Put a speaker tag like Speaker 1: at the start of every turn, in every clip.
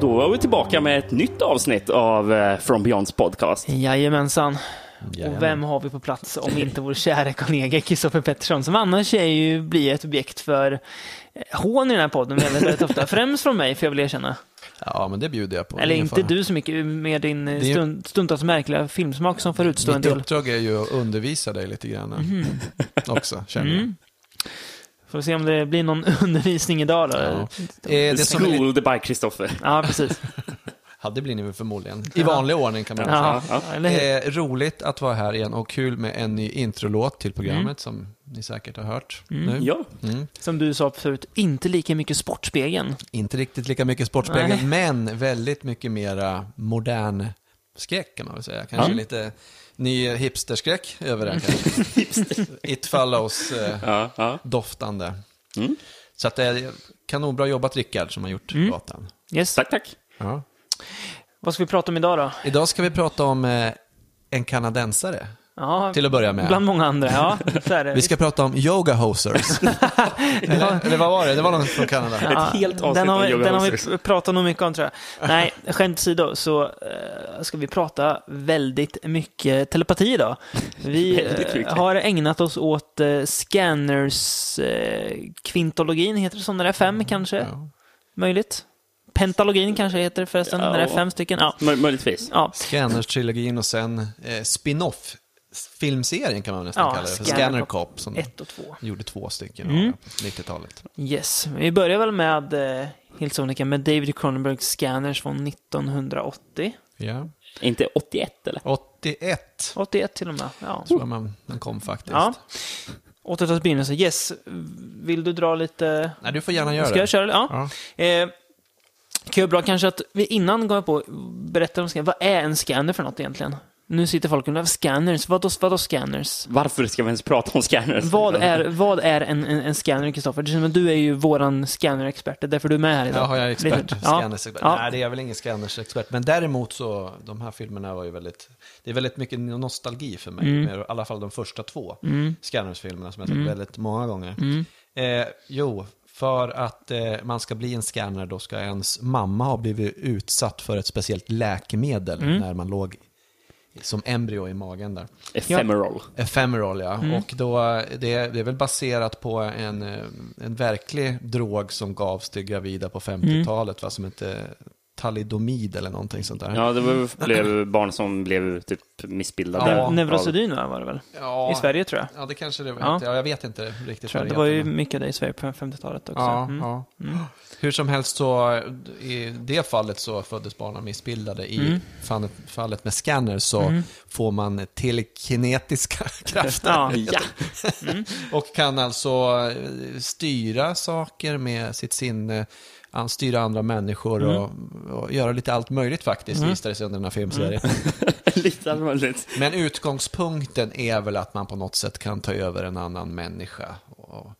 Speaker 1: då var vi tillbaka med ett nytt avsnitt av eh, From Beyonds podcast.
Speaker 2: Jajamensan. Och
Speaker 3: Jajamän.
Speaker 2: vem har vi på plats om inte vår kära kollega Kristoffer Pettersson som annars är ju, blir ett objekt för eh, hån i den här podden väldigt, väldigt ofta. Främst från mig, får jag väl erkänna.
Speaker 3: Ja, men det bjuder jag på.
Speaker 2: Eller
Speaker 3: Ingen
Speaker 2: inte
Speaker 3: fara.
Speaker 2: du så mycket, med din eh,
Speaker 3: Det är-
Speaker 2: stund, stundtals märkliga filmsmak som får utstå en
Speaker 3: Mitt
Speaker 2: del. Mhm.
Speaker 3: uppdrag är ju att undervisa dig lite grann också, känner
Speaker 2: Mm.
Speaker 3: jag.
Speaker 2: Får se om det blir någon undervisning idag då.
Speaker 3: Ja.
Speaker 2: Ja,
Speaker 3: Eh, det som är Mm. lite...
Speaker 1: Schooled by Kristoffer.
Speaker 2: precis.
Speaker 3: Ja, det blir ni väl förmodligen. I vanlig ordning kan man väl säga.
Speaker 2: Ja,
Speaker 1: Ja,
Speaker 2: eller hur?
Speaker 3: Eh, roligt att vara här igen och kul med en ny introlåt
Speaker 2: Mm.
Speaker 3: till programmet som ni säkert har hört nu.
Speaker 1: Ja,
Speaker 3: Mm.
Speaker 2: Som du sa förut, inte lika mycket Sportspegeln.
Speaker 3: Inte riktigt lika mycket Sportspegeln, men väldigt mycket mera modern skräck kan man väl säga. Kanske
Speaker 1: Ja.
Speaker 3: lite ny hipsterskräck över det kanske. It follows. Eh,
Speaker 1: ja, ja.
Speaker 3: doftande.
Speaker 1: Mm.
Speaker 3: Så att det är kanonbra jobbat Rickard som har gjort
Speaker 2: Mm.
Speaker 3: låten.
Speaker 2: Yes.
Speaker 1: Tack, tack.
Speaker 3: Ja.
Speaker 2: Vad ska vi prata om idag då?
Speaker 3: Idag ska vi prata om eh, en kanadensare,
Speaker 2: Ja,
Speaker 3: till att börja med.
Speaker 2: bland många andra. Ja, så är det.
Speaker 3: Vi ska prata om yoga hosers. eller, eller vad var det? Det var någon från Kanada.
Speaker 2: Ja,
Speaker 1: Ett helt avsnitt
Speaker 2: den har,
Speaker 1: om
Speaker 2: vi,
Speaker 1: Yoga
Speaker 2: den har
Speaker 1: Hosers.
Speaker 2: vi pratat nog mycket om tror jag. Nej, skämt åsido så eh, ska vi prata väldigt mycket telepati idag. Vi
Speaker 1: Väldigt
Speaker 2: eh,
Speaker 1: mycket.
Speaker 2: har ägnat oss åt eh, scanners eh, kvintologin, heter det så när det är
Speaker 1: Mm,
Speaker 2: fem kanske?
Speaker 3: Ja.
Speaker 2: Möjligt. Pentalogin kanske heter det förresten,
Speaker 1: Ja.
Speaker 2: när det är fem stycken. Ja.
Speaker 1: Mö- möjligtvis.
Speaker 2: Ja.
Speaker 3: Scanners-trilogin och sen eh, spin-off filmserien kan man nästan
Speaker 2: Ja,
Speaker 3: kalla det. för.
Speaker 2: Scanner
Speaker 3: Scanner
Speaker 2: Cop.
Speaker 3: Cop som
Speaker 1: Mm.
Speaker 2: Ett och två.
Speaker 3: gjorde två stycken
Speaker 2: Mm.
Speaker 3: av det på 90-talet.
Speaker 2: Yes. Vi börjar väl med eh, helt sonika med David Cronenbergs Scanners från 1980.
Speaker 3: Ja.
Speaker 1: Inte 81 eller?
Speaker 3: 81
Speaker 2: 81 till och med. Ja.
Speaker 3: tror jag man, man kom faktiskt.
Speaker 2: Ja. Återtas begynnelse. Yes. Vill du dra lite?
Speaker 3: Nej, du får gärna göra
Speaker 2: Ska jag
Speaker 3: det.
Speaker 2: köra? Ja.
Speaker 3: Ja.
Speaker 2: Eh, kan ju vara bra kanske att vi innan går jag på berätta om scanner. Vad är en scanner för något egentligen? Nu sitter folk och undrar, scanners, vadå, vadå scanners?
Speaker 1: Varför ska vi ens prata om scanners?
Speaker 2: Vad är, vad är en, en, en scanner, Kristoffer? Det känns som att Du är ju våran scannerexpert, det är därför du är med här idag.
Speaker 3: Ja, har jag är expert.
Speaker 2: Lite- Ja.
Speaker 3: Scanners-expert.
Speaker 2: Ja.
Speaker 3: Nej, det är jag väl ingen Scanners-expert. Men däremot så, de här filmerna var ju väldigt, det är väldigt mycket nostalgi för mig.
Speaker 2: Mm.
Speaker 3: Med, I alla fall de första två Scanners-filmerna som jag sett väldigt många gånger.
Speaker 2: Mm.
Speaker 3: Eh, jo, för att eh, man ska bli en scanner då ska ens mamma ha blivit utsatt för ett speciellt läkemedel
Speaker 2: Mm.
Speaker 3: när man låg som embryo i magen där.
Speaker 1: Ephemeral.
Speaker 3: Ephemeral, ja. Och då, det, det är väl baserat på en, eh, en verklig drog som gavs till gravida på 50-talet, va, som hette talidomid eller någonting sånt där.
Speaker 1: Ja, det var, blev barn som blev typ missbildade.
Speaker 3: Ja.
Speaker 2: Ne- Neurosedyn va, var det väl?
Speaker 3: Ja.
Speaker 2: I Sverige tror jag.
Speaker 3: Ja, det kanske det var.
Speaker 2: Ja.
Speaker 3: Ja. Jag vet inte riktigt.
Speaker 2: Tror
Speaker 3: vad
Speaker 2: jag. Det var ju
Speaker 3: heter, men-
Speaker 2: mycket det i Sverige på 50-talet också.
Speaker 3: Ja,
Speaker 2: Mm.
Speaker 3: ja. Hur som helst så, i det fallet så föddes barnen missbildade. I
Speaker 2: Mm.
Speaker 3: fan- fallet med scanner så får man telekinetiska krafter.
Speaker 2: Ja.
Speaker 1: Ja.
Speaker 3: Och kan alltså eh, styra saker med sitt sinne, an- styra andra människor och, och göra lite allt möjligt faktiskt, visade det sig under den här filmserien.
Speaker 1: lite allvarligt.
Speaker 3: Men utgångspunkten är väl att man på något sätt kan ta över en annan människa. Och,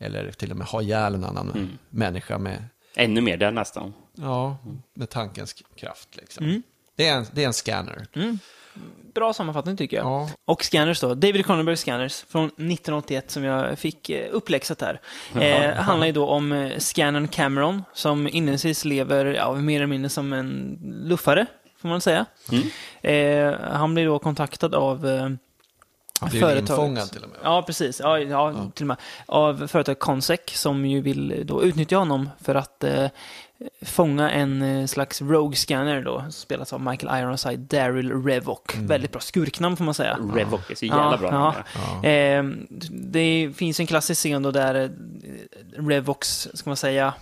Speaker 3: eller till och med ha ihjäl en annan människa med,
Speaker 1: Ännu mer där nästan.
Speaker 3: ja, med tankens kraft. Liksom. Det, är en, det är en scanner.
Speaker 2: Bra sammanfattning tycker jag.
Speaker 3: Ja.
Speaker 2: Och Scanners då, David Cronenbergs Scanners från 1981 som jag fick eh, uppläxat här. Eh, handlar ju då om eh, Scannon Cameron som inledningsvis lever ja, mer eller mindre som en luffare, får man säga. Eh, han blir då kontaktad av eh,
Speaker 3: Mm. Han blir
Speaker 2: företaget.
Speaker 3: infångad till och med.
Speaker 2: Ja, precis. Ja, ja, Till och med. Av företaget Consec som ju vill då utnyttja honom för att eh, fånga en eh, slags Rogue Scanner då, som spelas av Michael Ironside, Daryl Revock.
Speaker 3: Mm.
Speaker 2: Väldigt bra skurknamn får man säga.
Speaker 1: Revoke är så jävla bra.
Speaker 3: Ja.
Speaker 2: Eh, det finns en klassisk scen då där eh, Revox, ska man säga,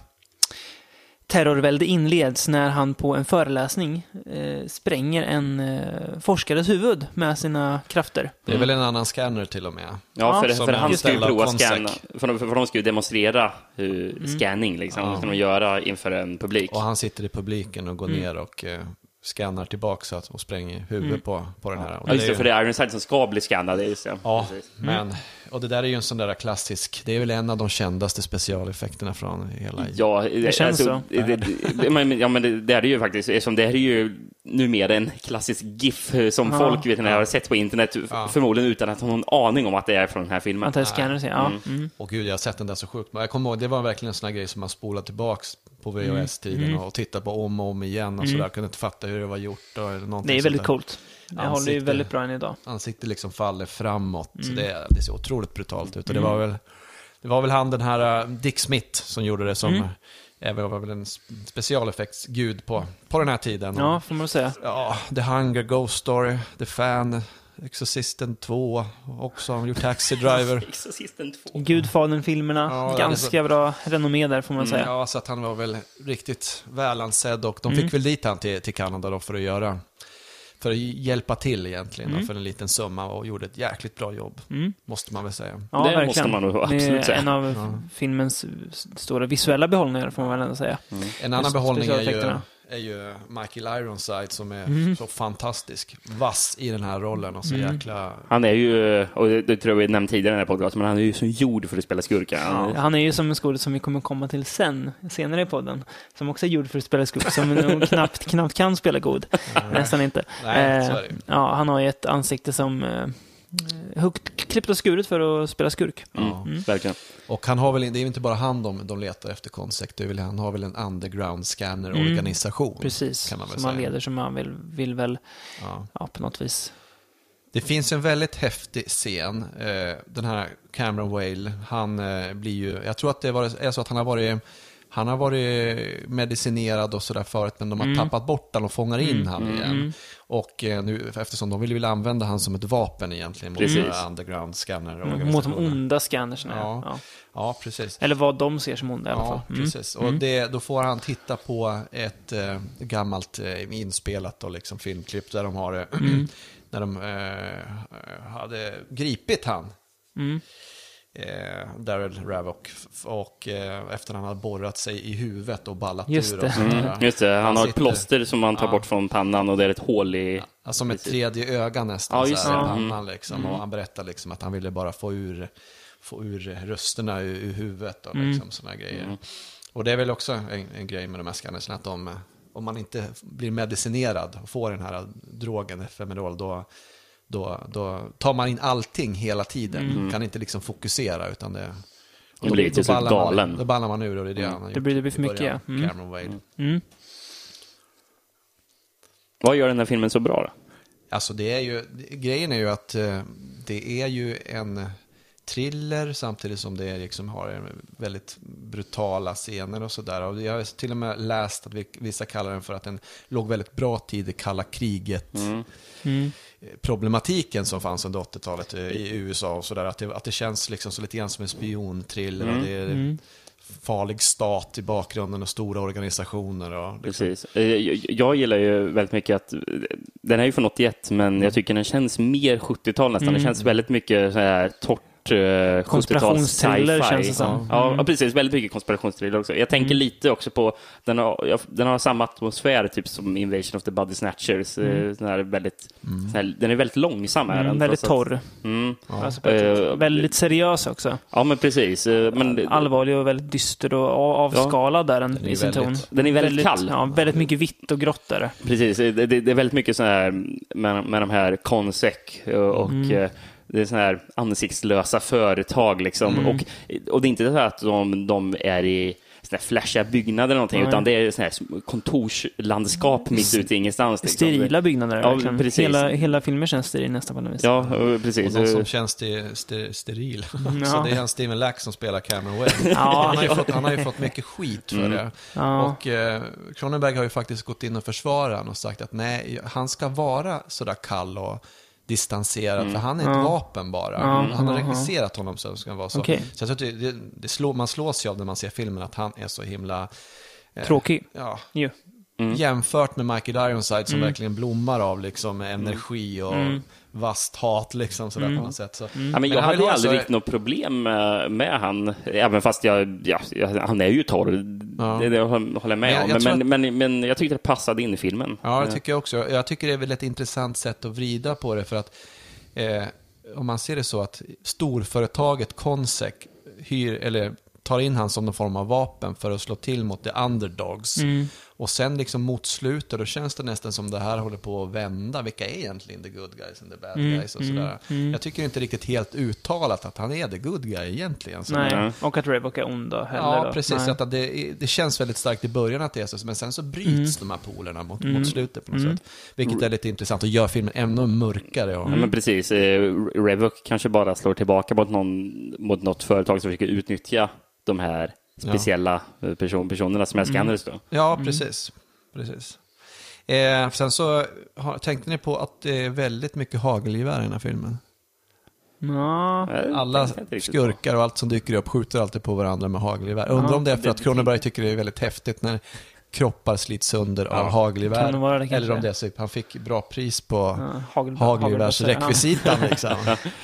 Speaker 2: terrorvälde inleds när han på en föreläsning eh, spränger en eh, forskares huvud med sina krafter.
Speaker 3: Det är väl en annan scanner till och med.
Speaker 1: Ja, för,
Speaker 3: Som
Speaker 1: för han ska ju
Speaker 3: anställda
Speaker 1: prova
Speaker 3: av
Speaker 1: scanna.
Speaker 3: Consec.
Speaker 1: För de, för de ska ju demonstrera hur
Speaker 3: Mm.
Speaker 1: scanning, liksom. Det ska de göra inför en publik. Mm.
Speaker 3: Och han sitter i publiken och går ner och eh, scannar tillbaka så att, och spränger huvudet på, på den här. Och
Speaker 1: Mm. Ja, just det,
Speaker 3: är-
Speaker 1: för det Mm. är Ironside som ska bli skannad. det är Just det.
Speaker 3: Ja,
Speaker 1: Precis.
Speaker 3: men, och det där är ju en sån där klassisk, det är väl en av de kändaste specialeffekterna från hela...
Speaker 1: Ja, det
Speaker 2: känns
Speaker 1: alltså,
Speaker 2: så.
Speaker 1: Det, det, men, ja, men det, det är det ju faktiskt, eftersom det här är ju numera en klassisk GIF eh, som
Speaker 2: Ja.
Speaker 1: folk vet när jag har sett på internet,
Speaker 3: Ja.
Speaker 1: förmodligen utan att ha någon aning om att det är från den här filmen.
Speaker 2: Man tar scanners, ja. Mm.
Speaker 3: Och gud, jag har sett den där så sjukt. Men jag kommer ihåg, det var verkligen en sån här grej som man spolade tillbaks på
Speaker 1: Mm.
Speaker 3: VHS-tiden och tittade på om och om igen och sådär. Kunde inte fatta hur det var gjort. Och, eller någonting
Speaker 2: Det är väldigt
Speaker 3: sånt där.
Speaker 2: coolt. Det håller ju
Speaker 3: Ansikte.
Speaker 2: väldigt bra än idag.
Speaker 3: Ansiktet liksom faller framåt. Så det, det ser otroligt brutalt ut. Och det, var väl, det var väl han den här äh, Dick Smith som gjorde det som mm. även var väl en s- specialeffektsgud på, på den här tiden.
Speaker 2: Ja,
Speaker 3: Och,
Speaker 2: får man säga.
Speaker 3: ja, The Hunger, Ghost Story, The Fan, Exorcisten 2 också. Han gjorde Taxi Driver.
Speaker 1: Exorcisten 2.
Speaker 2: Gudfadern-filmerna,
Speaker 3: Ja, det är
Speaker 2: ganska bra renommé där får man säga.
Speaker 3: Ja, så att han var väl riktigt välansedd och de fick väl dit han till, till Kanada då för att göra, för att hjälpa till egentligen då, för en liten summa och gjorde ett jäkligt bra jobb, måste man väl säga.
Speaker 2: Mm. Ja,
Speaker 1: Det måste man nog absolut
Speaker 2: det är
Speaker 1: säga.
Speaker 2: en av filmens stora visuella behållningar, får man väl ändå säga.
Speaker 3: En annan behållning är ju,
Speaker 2: specialeffekterna. Mm.
Speaker 3: är ju Michael Ironside som är så fantastisk, vass i den här rollen och så jäkla...
Speaker 1: Han är ju, och det, det tror jag vi nämnt tidigare i den här podcasten, men han är ju som gjord för att spela skurkar. Han-
Speaker 2: Eh, Han är ju som en skådis som vi kommer komma till sen, senare i podden, som också är gjord för att spela skurk, som nog knappt, knappt kan spela god. Nästan inte.
Speaker 3: eh, Nej, så är det ju.
Speaker 2: ja, han har ju ett ansikte som eh, högt klippt och skuret för att spela skurk.
Speaker 1: Mm, Verkligen.
Speaker 3: Och han har väl, det är ju inte bara han de, de letar efter Consect, det är väl, han har väl en underground scanner-organisation.
Speaker 2: Mm. Precis,
Speaker 3: kan man väl
Speaker 2: som han
Speaker 3: säga.
Speaker 2: leder, som han vill, vill väl,
Speaker 3: Ja.
Speaker 2: ja, på något vis.
Speaker 3: Det finns en väldigt häftig scen. eh, Den här Cameron Whale, han eh, blir ju, jag tror att det var, är så att han har varit, han har varit medicinerad och sådär förut, men de har
Speaker 2: Mm.
Speaker 3: tappat bort han och fångar in han igen. Och eh, nu, eftersom de vill väl använda han som ett vapen egentligen mot
Speaker 1: Precis.
Speaker 3: de här underground scanner
Speaker 2: Mm. Mot de onda scannersna, ja.
Speaker 3: Ja. ja, precis.
Speaker 2: Eller vad de ser som onda i alla fall. Mm.
Speaker 3: Ja, precis. Och det, då får han titta på ett eh, gammalt eh, inspelat och liksom filmklipp där de har det.
Speaker 2: Mm.
Speaker 3: när de eh, hade gripit han.
Speaker 2: Mm.
Speaker 3: Eh, Daryl Ravok. f- Och eh, efter han hade borrat sig i huvudet och ballat
Speaker 2: Just
Speaker 3: ur.
Speaker 2: det.
Speaker 3: Och sånt där.
Speaker 1: Mm. Just det, han, har ett
Speaker 3: sitter-
Speaker 1: plåster som han tar bort från pannan och det är ett hål i...
Speaker 3: Ja, Som ett Alltså tredje öga nästan.
Speaker 1: Ja, just
Speaker 3: så här,
Speaker 1: det.
Speaker 3: i
Speaker 1: Mm.
Speaker 3: pannan, liksom. Och han berättade liksom att han ville bara få ur, få ur rösterna ur, ur huvudet och
Speaker 1: Mm.
Speaker 3: liksom, sådana grejer. Och det är väl också en, en grej med de här scannersen, att de, om man inte blir medicinerad och får den här drogen, Femerol, då, då, då tar man in allting hela tiden. Kan inte liksom fokusera, utan det...
Speaker 1: Då blir Mm. det till slut
Speaker 3: ballar man-
Speaker 1: galen. Mm.
Speaker 3: Då ballar man ur och det är det han har
Speaker 2: Det blir- det
Speaker 3: gjort
Speaker 2: blir för
Speaker 3: i
Speaker 2: mycket,
Speaker 3: början,
Speaker 2: ja. Mm.
Speaker 3: Cameron Whale.
Speaker 1: Vad gör den här filmen så bra då?
Speaker 3: Alltså det är ju, grejen är ju att eh, det är ju en thriller samtidigt som det liksom har en väldigt brutala scener och sådär. Och jag har till och med läst att vi- vissa kallar den för att den låg väldigt bra tid i kalla kriget.
Speaker 1: Mm.
Speaker 2: Mm.
Speaker 3: eh, Problematiken som fanns under 80-talet eh, i USA och sådär. Att det, att det känns liksom så lite grann som en spionthriller. Och det är farlig stat i bakgrunden och stora organisationer. Och liksom.
Speaker 1: Precis. Eh, Jag, jag gillar ju väldigt mycket att eh, den är ju från 81,
Speaker 2: Mm.
Speaker 1: men jag tycker den känns mer 70-tal nästan. Den känns väldigt mycket så här torrt eh, 70-tal
Speaker 2: Konspirationsthriller
Speaker 1: sci-fi.
Speaker 2: känns det som. Mm.
Speaker 1: Ja, ja, precis. Väldigt mycket konspirationsthriller också. Jag tänker lite också på, den har, jag- den har samma atmosfär typ som Invasion of the Body Snatchers. Mm. Den, här är väldigt, sån här, den är väldigt långsam. Är den,
Speaker 2: Mm, väldigt
Speaker 1: trots att-
Speaker 2: torr.
Speaker 1: Mm.
Speaker 2: Alltså på ett sätt.
Speaker 1: Eh,
Speaker 2: väldigt seriös också.
Speaker 1: Ja, men precis. Eh, Men,
Speaker 2: Allvarlig och väldigt dyster och av- avskalad där den,
Speaker 3: är
Speaker 2: i sin ton.
Speaker 3: väldigt-
Speaker 1: Den är väldigt kall.
Speaker 2: Ja, väldigt mycket vitt och grått där.
Speaker 1: Precis, det, det det är väldigt mycket så här med, med de här Consec och
Speaker 3: Mm.
Speaker 1: eh, det är såna här ansiktslösa företag liksom.
Speaker 3: Mm.
Speaker 1: Och, och det är inte så här att de, de är i såna här flashiga byggnader eller någonting,
Speaker 2: Nej.
Speaker 1: utan det är såna här sm- kontorslandskap mitt ute i ingenstans. liksom.
Speaker 2: Sterila byggnader.
Speaker 1: Ja,
Speaker 2: verkligen.
Speaker 1: precis.
Speaker 2: hela, hela filmen känns steril nästan på något vis.
Speaker 1: Ja, eh,
Speaker 3: Och
Speaker 1: precis.
Speaker 3: någon som känns sti- sti- steril. Så
Speaker 2: Ja.
Speaker 3: det är han Steven Lack som spelar Cameron Wayne.
Speaker 2: Ja.
Speaker 3: han, har ju fått, han har ju fått mycket skit för det.
Speaker 2: Ja.
Speaker 3: Och eh, Cronenberg har ju faktiskt gått in och försvarat honom och sagt att nej, han ska vara sådär kall och distanserad, för han är ett vapen bara. Han har regisserat honom så att han ska vara så.
Speaker 2: Okej.
Speaker 3: Så jag tror att det, det, det slår, man slås ju av när man ser filmen att han är så himla... eh,
Speaker 2: Tråkig.
Speaker 3: Ja,
Speaker 2: Ju.
Speaker 1: Mm.
Speaker 3: jämfört med Michael Ironside som verkligen blommar av liksom
Speaker 1: Mm.
Speaker 3: energi och vasst hat liksom sådär på något sätt. Så,
Speaker 1: Ja, men jag
Speaker 3: han
Speaker 1: hade ju
Speaker 3: vill ha
Speaker 1: aldrig
Speaker 3: så-
Speaker 1: riktigt något problem med, med han, även fast jag, ja, jag, han är ju torr.
Speaker 3: Ja.
Speaker 1: Det, det håller jag med
Speaker 3: Men jag-
Speaker 1: om.
Speaker 3: jag tror
Speaker 1: men, men, men, men jag tyckte det passade in i filmen.
Speaker 3: Ja, det tycker jag också. Jag tycker det är väl ett intressant sätt att vrida på det för att eh, om man ser det så att storföretaget Consec hyr, eller tar in han som någon form av vapen för att slå till mot the underdogs. Och sen liksom mot slutet, då känns det nästan som det här håller på att vända. Vilka är egentligen the good guys and the bad guys och sådär. Jag tycker inte riktigt helt uttalat att han är the good guy egentligen. Så
Speaker 2: Nej,
Speaker 1: Ja.
Speaker 2: och att Revok är ond då heller.
Speaker 3: Ja,
Speaker 2: då.
Speaker 3: precis.
Speaker 2: Nej.
Speaker 3: Att det, det känns väldigt starkt i början att det är så, men sen så bryts de här polerna mot, mot slutet på något sätt. Vilket är lite intressant och gör filmen ännu mörkare. Och,
Speaker 1: Ja, men precis. Eh, Revok kanske bara slår tillbaka mot, någon, mot något företag som försöker utnyttja de här speciella eh, person, personerna
Speaker 3: Mm.
Speaker 1: som är scanners. Då.
Speaker 3: Ja, precis. precis. Eh, sen så har, tänkte ni på att det är väldigt mycket hagelgevär i den här filmen.
Speaker 2: Ja.
Speaker 1: Eh,
Speaker 3: Alla
Speaker 1: tänkte jag inte riktigt på.
Speaker 3: skurkar och allt som dyker upp skjuter alltid på varandra med hagelgevär. Undrar om det är för att Cronenberg tycker det är väldigt häftigt när kroppar slits sönder av
Speaker 2: Kan det vara
Speaker 3: hagelgevär.
Speaker 2: det kanske?
Speaker 3: Eller om det är så han fick bra pris på
Speaker 2: Ja, hagel- hagelbössor,
Speaker 3: hagelgevärsrekvisitan. Liksom.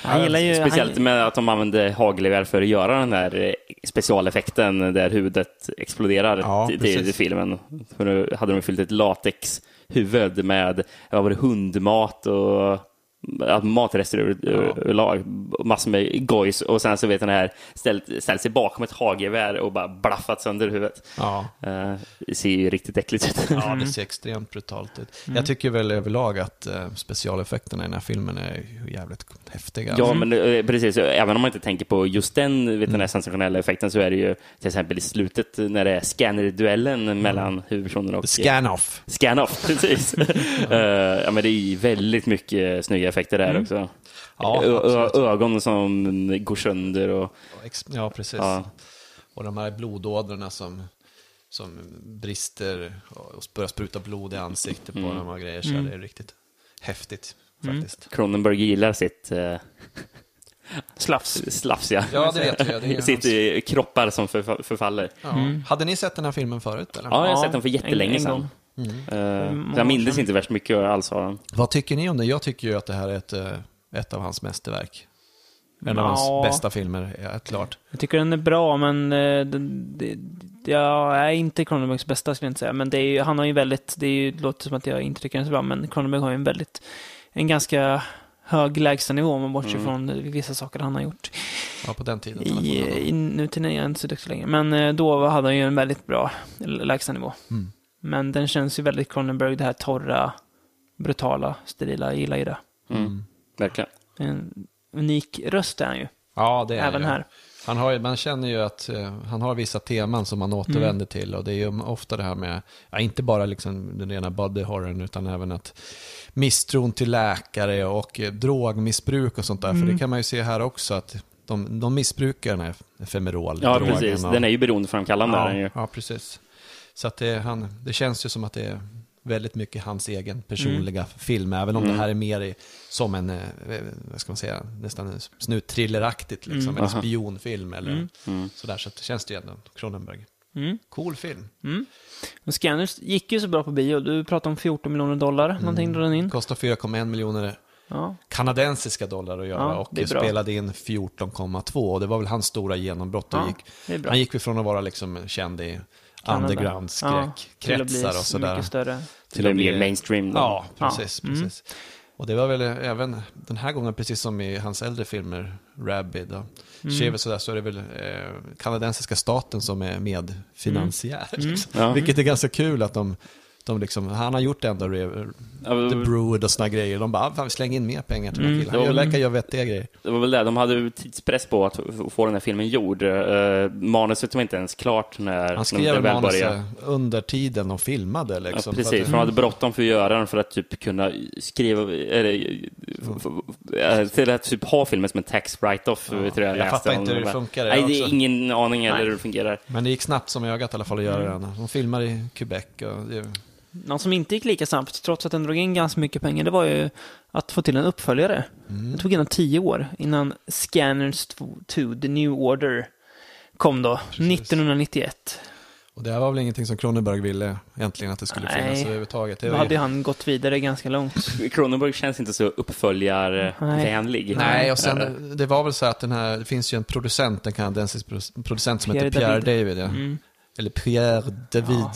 Speaker 2: Han gillar ju...
Speaker 1: Speciellt
Speaker 2: han,
Speaker 1: med att de använde hagelgevär för att göra den där eh, specialeffekten där huvudet exploderar
Speaker 3: Ja,
Speaker 1: i, i, i
Speaker 3: precis.
Speaker 1: filmen. För nu hade de fyllt ett latexhuvud med vad var det, hundmat och ja, matrester ur- överlag, massor med gojs och sen så vet den här ställt, ställt sig bakom ett hagelgevär och bara blaffat sönder huvudet.
Speaker 3: Ja.
Speaker 1: Eh, det ser ju riktigt äckligt ut.
Speaker 3: Ja, det ser extremt brutalt ut. Jag tycker väl överlag att eh, specialeffekterna i den här filmen är ju jävligt häftiga.
Speaker 1: Ja, men eh, precis. Även om man inte tänker på just den, vet, den här sensationella effekten så är det ju till exempel i slutet när det är scanner-duellen
Speaker 3: Mm.
Speaker 1: mellan huvudpersonen och
Speaker 3: Scan-off.
Speaker 1: scan-off. Precis. Eh, ja, men det är ju väldigt mycket snygga effekter där också.
Speaker 3: Mm. Ja,
Speaker 1: Ö- ö-
Speaker 3: absolut.
Speaker 1: ögon som går sönder och
Speaker 3: Ex- Ja, precis.
Speaker 1: Ja.
Speaker 3: Och de här blodådrorna som, som brister och börjar spruta blod i ansiktet på
Speaker 1: Mm.
Speaker 3: de här grejer. Så det är riktigt häftigt faktiskt.
Speaker 1: Cronenberg gillar sitt eh,
Speaker 2: slafs.
Speaker 1: slafsiga.
Speaker 3: Ja, det vet jag. Det är
Speaker 1: sitt eh, kroppar som förfa- förfaller.
Speaker 3: Ja. Hade ni sett den här filmen förut? Eller? Mm.
Speaker 1: Ja, jag har
Speaker 2: Ja,
Speaker 1: sett den för jättelänge
Speaker 2: en- en
Speaker 1: sedan.
Speaker 2: gång.
Speaker 1: Eh, så
Speaker 2: Många år
Speaker 1: jag mindes
Speaker 2: sedan.
Speaker 1: inte värst mycket alls av den.
Speaker 3: Vad tycker ni om den? Jag tycker ju att det här är ett, eh, ett av hans mästerverk. En av
Speaker 2: Ja.
Speaker 3: hans bästa filmer, ja, klart.
Speaker 2: Jag tycker den är bra, men eh, den, det, jag är inte Cronenbergs bästa skulle jag inte säga. Men det är ju, han har ju väldigt, det är ju, det låter som att jag inte tycker den är så bra, men Cronenberg har ju en väldigt, en ganska hög lägstanivå om man bortser
Speaker 3: Mm.
Speaker 2: från vissa saker han har gjort.
Speaker 3: Ja, på den tiden.
Speaker 2: I, i nutiden är jag inte så duktig längre, men eh, då hade han ju en väldigt bra l- lägstanivå.
Speaker 3: Mm.
Speaker 2: Men den känns ju väldigt Cronenberg, det här torra, brutala, sterila, jag gillar ju det.
Speaker 1: Mm. Verkligen.
Speaker 2: En unik röst är han ju,
Speaker 3: Ja, det är
Speaker 2: även
Speaker 3: ju.
Speaker 2: här.
Speaker 3: Han har, ju- man känner ju att eh, han har vissa teman som han återvänder
Speaker 2: Mm.
Speaker 3: till och det är ju ofta det här med, ja, inte bara liksom den rena body horrorn utan även att misstron till läkare och eh, drogmissbruk och sånt där,
Speaker 2: Mm.
Speaker 3: för det kan man ju se här också att de, de missbrukar den här femerol
Speaker 1: Ja, precis. Den är ju beroendeframkallande. är den ju.
Speaker 3: ja, ja, precis. Så att det, han, det känns ju som att det är väldigt mycket hans egen personliga
Speaker 2: Mm.
Speaker 3: film, även om det här är mer i, som en, eh, vad ska man säga, nästan en snutthrilleraktigt liksom, en spionfilm eller
Speaker 1: Mm.
Speaker 3: sådär. Så att det känns det ju ändå, Cronenberg.
Speaker 2: Mm.
Speaker 3: Cool film.
Speaker 2: Men Scanners gick ju så bra på bio. Du pratade om 14 miljoner dollar,
Speaker 3: Mm.
Speaker 2: någonting drog den in.
Speaker 3: Kostar 4,1 miljoner
Speaker 2: Ja.
Speaker 3: kanadensiska dollar att göra
Speaker 2: Ja,
Speaker 3: och
Speaker 2: det är bra.
Speaker 3: spelade in 14,2 och det var väl hans stora genombrott.
Speaker 2: Ja,
Speaker 3: Ja,
Speaker 2: det är
Speaker 3: gick,
Speaker 2: bra.
Speaker 3: han gick ju från att vara liksom känd i
Speaker 2: Kanada. till att bli
Speaker 3: underground-skräckkretsar och sådär.
Speaker 2: mycket större.
Speaker 1: Till och med mainstream. Då.
Speaker 3: Ja,
Speaker 2: Ja.
Speaker 3: precis.
Speaker 1: Mm.
Speaker 3: precis. Och det var väl även den här gången, precis som i hans äldre filmer, Rabbi då. Mm. sådär, så är det väl eh, kanadensiska staten som är medfinansiär. Liksom.
Speaker 1: Mm. Ja.
Speaker 3: Vilket är ganska kul att de, de liksom, han har gjort ändå Re-
Speaker 1: Ja,
Speaker 3: The Brood och sådana grejer. De bara, "Ah, fan, vi slänger in mer pengar till den här killen.
Speaker 1: Det
Speaker 3: Han
Speaker 1: var väl-
Speaker 3: verkar göra vettiga grejer.
Speaker 1: Det var väl det, de hade ju tidspress på att få den här filmen gjord. Eh, manuset var inte ens klart när
Speaker 3: Han
Speaker 1: när det
Speaker 3: skrev
Speaker 1: väl
Speaker 3: manuset
Speaker 1: började.
Speaker 3: under tiden de filmade.
Speaker 1: Ja,
Speaker 3: Liksom,
Speaker 1: precis,
Speaker 3: För att-
Speaker 1: för de hade bråttom för att göra den för att typ kunna skriva, eller, f- f- eh, till att typ ha filmen som en tax write-off, tror jag
Speaker 3: jag
Speaker 1: läste
Speaker 3: fattar
Speaker 1: om.
Speaker 3: inte hur det
Speaker 1: Bara,
Speaker 3: funkar, jag
Speaker 1: Nej, det är
Speaker 3: också.
Speaker 1: ingen aning heller
Speaker 2: Nej.
Speaker 1: hur det fungerar.
Speaker 3: Men det gick snabbt som ögat i alla fall att göra
Speaker 1: Mm.
Speaker 3: den. De filmar i Quebec. Och det,
Speaker 2: Någon som inte gick lika snabbt, trots att den drog in ganska mycket pengar, det var ju att få till en uppföljare.
Speaker 3: Mm.
Speaker 2: Det tog innan tio år innan Scanners 2, The New Order, kom då, 1991.
Speaker 3: Och det här var väl ingenting som Cronenberg ville egentligen att det skulle
Speaker 2: Nej.
Speaker 3: finnas överhuvudtaget. Det
Speaker 2: Då
Speaker 3: var
Speaker 2: hade
Speaker 3: ju...
Speaker 2: ju han gått vidare ganska långt.
Speaker 1: Cronenberg känns inte så uppföljarvänlig.
Speaker 3: Nej, och sen det var väl så att den här, det finns ju en producent, en kanadensisk pro- producent som
Speaker 2: Pierre
Speaker 3: heter Pierre
Speaker 2: David. Mm.
Speaker 3: David. ja. Eller Pierre David.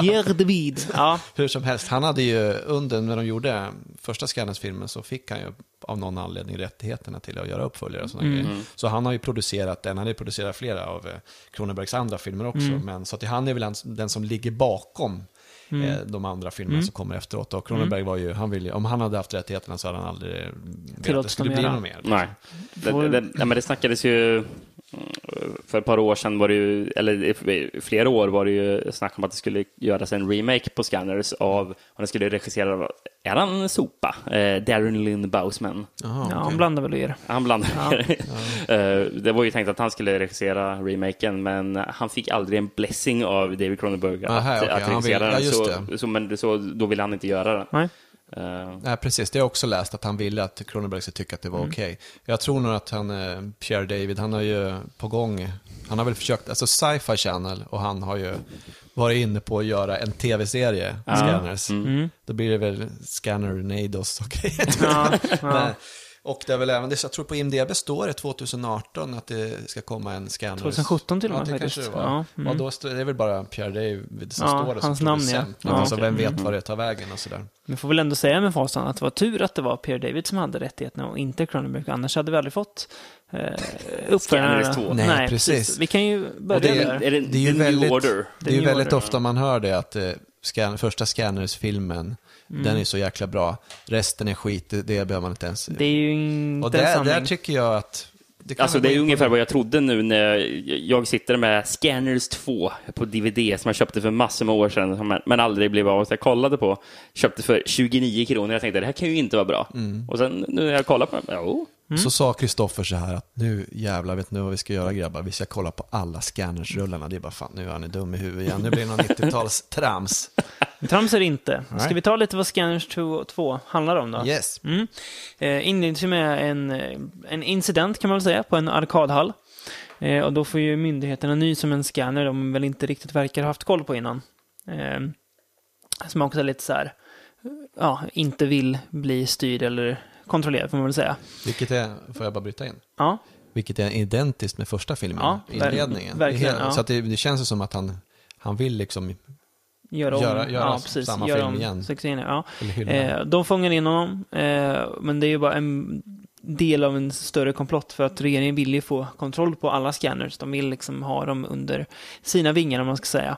Speaker 2: Pierre de Bide. Ja,
Speaker 3: Hur som helst, han hade ju under när de gjorde första Scanners-filmen så fick han ju av någon anledning rättigheterna till att göra uppföljare och sådana
Speaker 2: Mm.
Speaker 3: grejer. Så han har ju producerat den, han har ju producerat flera av eh, Cronenbergs andra filmer också.
Speaker 2: Mm.
Speaker 3: Men, så att han är väl han- den som ligger bakom
Speaker 2: Mm.
Speaker 3: eh, de andra filmerna som kommer efteråt. Och Cronenberg var ju, han ville, om han hade haft rättigheterna så hade han aldrig velat att det
Speaker 2: Tillåtit
Speaker 3: skulle
Speaker 2: dem
Speaker 3: bli
Speaker 2: göra.
Speaker 3: något mer.
Speaker 1: Nej. Det, det, det, nej, men det snackades ju... mm, För ett par år sedan var det ju, eller i flera år var det ju snack om att det skulle göras en remake på Scanners av, och den skulle regissera, av- är han en sopa? Eh, Darren Lynn Bousman.
Speaker 3: Jaha,
Speaker 2: ja
Speaker 3: okej.
Speaker 2: han blandar väl och ger.
Speaker 1: Han blandade Eh, Det var ju tänkt att han skulle regissera remaken, men han fick aldrig en blessing av David Cronenberg att,
Speaker 3: Aha, okej,
Speaker 1: att
Speaker 3: han vill-
Speaker 1: regissera
Speaker 3: ja,
Speaker 1: den.
Speaker 3: just
Speaker 1: så, så, men, det- så, då ville han inte göra den.
Speaker 2: Nej.
Speaker 1: Eh,
Speaker 3: Nej, precis. Det har jag också läst, att han ville att Cronenberg skulle tycka att det var
Speaker 2: Mm.
Speaker 3: okej. Jag tror nog att han, eh, Pierre David, han har ju på gång, han har väl försökt, alltså Sci-Fi Channel, och han har ju varit inne på att göra en tv-serie, Scanners.
Speaker 2: Mm.
Speaker 3: Då blir det väl Scanner Nados och grejer.
Speaker 2: Ja,
Speaker 3: Nej.
Speaker 2: ja.
Speaker 3: Och det är väl även, det- jag tror på IMDB står det 2018 att det ska komma en Scanners.
Speaker 2: 2017 till och med
Speaker 3: ja, det kanske det
Speaker 2: faktiskt.
Speaker 3: var.
Speaker 2: Ja, mm.
Speaker 3: Och då står, det är väl bara Pierre David som
Speaker 2: Ja,
Speaker 3: står där
Speaker 2: hans
Speaker 3: som
Speaker 2: namn, ja.
Speaker 3: producent.
Speaker 2: Ja,
Speaker 3: alltså,
Speaker 2: okej. Mm.
Speaker 3: vem vet var det tar vägen och sådär.
Speaker 2: Vi får väl ändå säga med fasan att det var tur att det var Pierre David som hade rättigheterna och inte Cronenberg. Annars hade vi aldrig fått eh, uppföljarna.
Speaker 1: Scanners 2.
Speaker 3: Nej, precis.
Speaker 2: Vi kan ju
Speaker 3: Och
Speaker 2: börja
Speaker 3: det-
Speaker 2: där.
Speaker 1: Är det,
Speaker 3: Det är ju
Speaker 1: the
Speaker 3: väldigt,
Speaker 1: new order?
Speaker 3: Det är ju
Speaker 2: New
Speaker 3: väldigt
Speaker 2: Order,
Speaker 3: ofta man hör det att eh, scan, första Scanners-filmen,
Speaker 2: Mm.
Speaker 3: den är så jäkla bra. Resten är skit, det, det behöver man inte ens...
Speaker 2: Det är ju inte
Speaker 3: och
Speaker 2: en
Speaker 3: där,
Speaker 2: sanning.
Speaker 3: där tycker jag att... Det kan
Speaker 1: Alltså
Speaker 3: man gå
Speaker 1: det är
Speaker 3: in på.
Speaker 1: ungefär vad jag trodde nu när jag sitter med Scanners 2 på DVD som jag köpte för massor med år sedan som jag- men aldrig blev av. Så jag kollade på, köpte för 29 kronor. Jag tänkte det här kan ju inte vara bra.
Speaker 3: Mm.
Speaker 1: Och sen nu när jag kollar på den, jo.
Speaker 2: Mm.
Speaker 3: Så sa Kristoffer så här att nu jävlar, vet ni vad vi ska göra grabbar? Vi ska kolla på alla Scanners-rullarna. Det är bara fan, nu är ni dum i huvudet igen. Nu blir det någon 90-tals-trams.
Speaker 2: Trams är det inte. Ska
Speaker 3: Nej.
Speaker 2: vi ta lite vad Scanners 2 2 handlar om då?
Speaker 3: Yes.
Speaker 2: Mm. Eh, inleds ju med en, eh, en incident kan man väl säga på en arkadhall. Eh, och då får ju myndigheterna ny som en scanner de väl inte riktigt verkar ha haft koll på innan. Eh, som också är lite så här, eh, ja, inte vill bli styrd eller kontrollerad får man väl säga.
Speaker 3: Vilket är, får jag bara bryta in?
Speaker 2: Ja,
Speaker 3: Vilket är identiskt med första filmen,
Speaker 2: Ja, ver-
Speaker 3: inledningen.
Speaker 2: verkligen,
Speaker 3: Det är helt-
Speaker 2: ja.
Speaker 3: Så att det, det känns ju som att han, han vill liksom,
Speaker 2: göra om.
Speaker 3: Göra- göra
Speaker 2: ja, precis,
Speaker 3: samma
Speaker 2: göra
Speaker 3: film
Speaker 2: om
Speaker 3: igen.
Speaker 2: sex scener, ja.
Speaker 3: eller hylla.
Speaker 2: Eh, de fångar in honom, eh, men det är ju bara en del av en större komplott för att regeringen vill ju få kontroll på alla scanners. De vill liksom ha dem under sina vingar om man ska säga.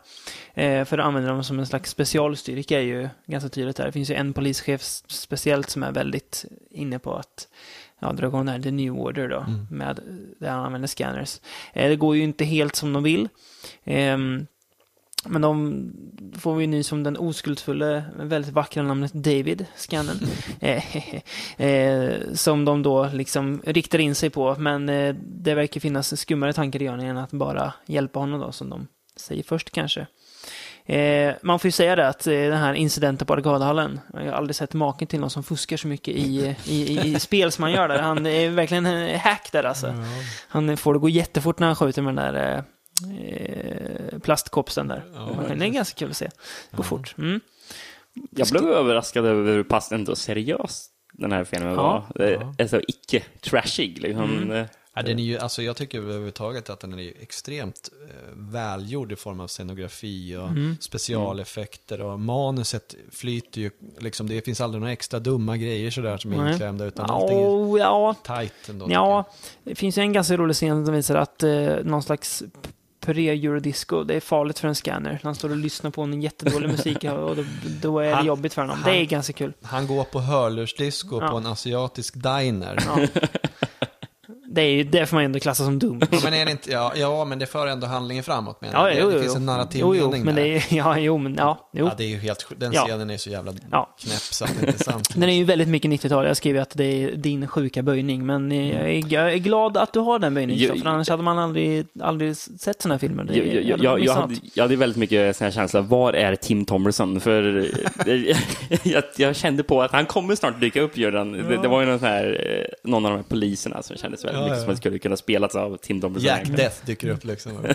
Speaker 2: Eh, för att använda dem som en slags specialstyrka är ju ganska tydligt här. Det finns ju en polischef s- speciellt som är väldigt inne på att ja, dra igång det här, The New Order då, med där han använder scanners. Eh, det går ju inte helt som de vill. Ehm, men de får vi ny som den oskuldsfulle, med väldigt vackra namnet David, scannen. Eh, eh, som de då liksom riktar in sig på. Men eh, det verkar finnas skummare tankar i görningen än att bara hjälpa honom då, som de säger först kanske. Eh, man får ju säga det att eh, den här incidenten på arkadhallen, jag har aldrig sett maken till någon som fuskar så mycket i, i, i, i spel som han gör där. Han är verkligen en hack där alltså. Han får det gå jättefort när han skjuter med den där eh, eh, plastkopsen där. det är ganska kul att se. Det går fort. Mm.
Speaker 1: Jag blev överraskad över hur pass ändå seriös den här filmen
Speaker 2: Ja.
Speaker 1: var. Ja. Alltså icke-trashig liksom. Eh,
Speaker 3: Ja, den är ju, alltså jag tycker överhuvudtaget att den är ju extremt eh, välgjord i form av scenografi och
Speaker 2: Mm.
Speaker 3: specialeffekter och manuset flyter ju, liksom, det finns aldrig några extra dumma grejer sådär som är
Speaker 2: Nej.
Speaker 3: inklämda utan allting är
Speaker 2: Oh, ja,
Speaker 3: tajt ändå. tycker jag.
Speaker 2: ja, det finns ju en ganska rolig scen som visar att eh, någon slags pre-eurodisco, det är farligt för en scanner. Han står och lyssnar på en jättedålig musik och då, då är det
Speaker 3: Han-
Speaker 2: jobbigt för honom.
Speaker 3: han-
Speaker 2: Det är ganska kul.
Speaker 3: Han går på hörlursdisco
Speaker 2: Ja.
Speaker 3: på en asiatisk diner.
Speaker 2: Det, är ju, det får man ju ändå klassa som dumt.
Speaker 3: Ja, men är det inte, ja, ja, men det för ändå handlingen framåt menar
Speaker 2: Ja,
Speaker 3: jag.
Speaker 2: jo,
Speaker 3: det,
Speaker 2: jo,
Speaker 3: det finns
Speaker 2: jo.
Speaker 3: en
Speaker 2: jo, jo,
Speaker 3: narrativmening
Speaker 2: men det
Speaker 3: där.
Speaker 2: är, ja, jo, men ja, jo.
Speaker 3: Ja, det är ju helt, sj- den
Speaker 2: Ja.
Speaker 3: scenen är så jävla
Speaker 2: Ja.
Speaker 3: knäpp så att det inte är sant.
Speaker 2: Den är ju väldigt mycket 90-tal. Jag skrev ju att det är din sjuka böjning, men eh,
Speaker 1: Mm.
Speaker 2: jag är, jag är glad att du har den böjningen,
Speaker 1: Jo,
Speaker 2: Kristoffer. Annars hade man aldrig, aldrig sett sådana här filmer. Det,
Speaker 1: Jag, jag,
Speaker 2: är- hade man
Speaker 1: jag, jag,
Speaker 2: missat
Speaker 1: hade,
Speaker 2: något.
Speaker 1: jag hade väldigt mycket sån här känsla, var är Tim Thomerson? För eh, jag, jag kände på att han kommer snart dyka upp, Göran. Det, det var ju någon, sån här, eh, någon av de här poliserna som kändes väldigt
Speaker 3: Ja,
Speaker 1: mycket
Speaker 3: ja.
Speaker 1: som skulle kunna spelas av Tim Dombrowski.
Speaker 3: Jack Death dyker upp liksom.
Speaker 2: Det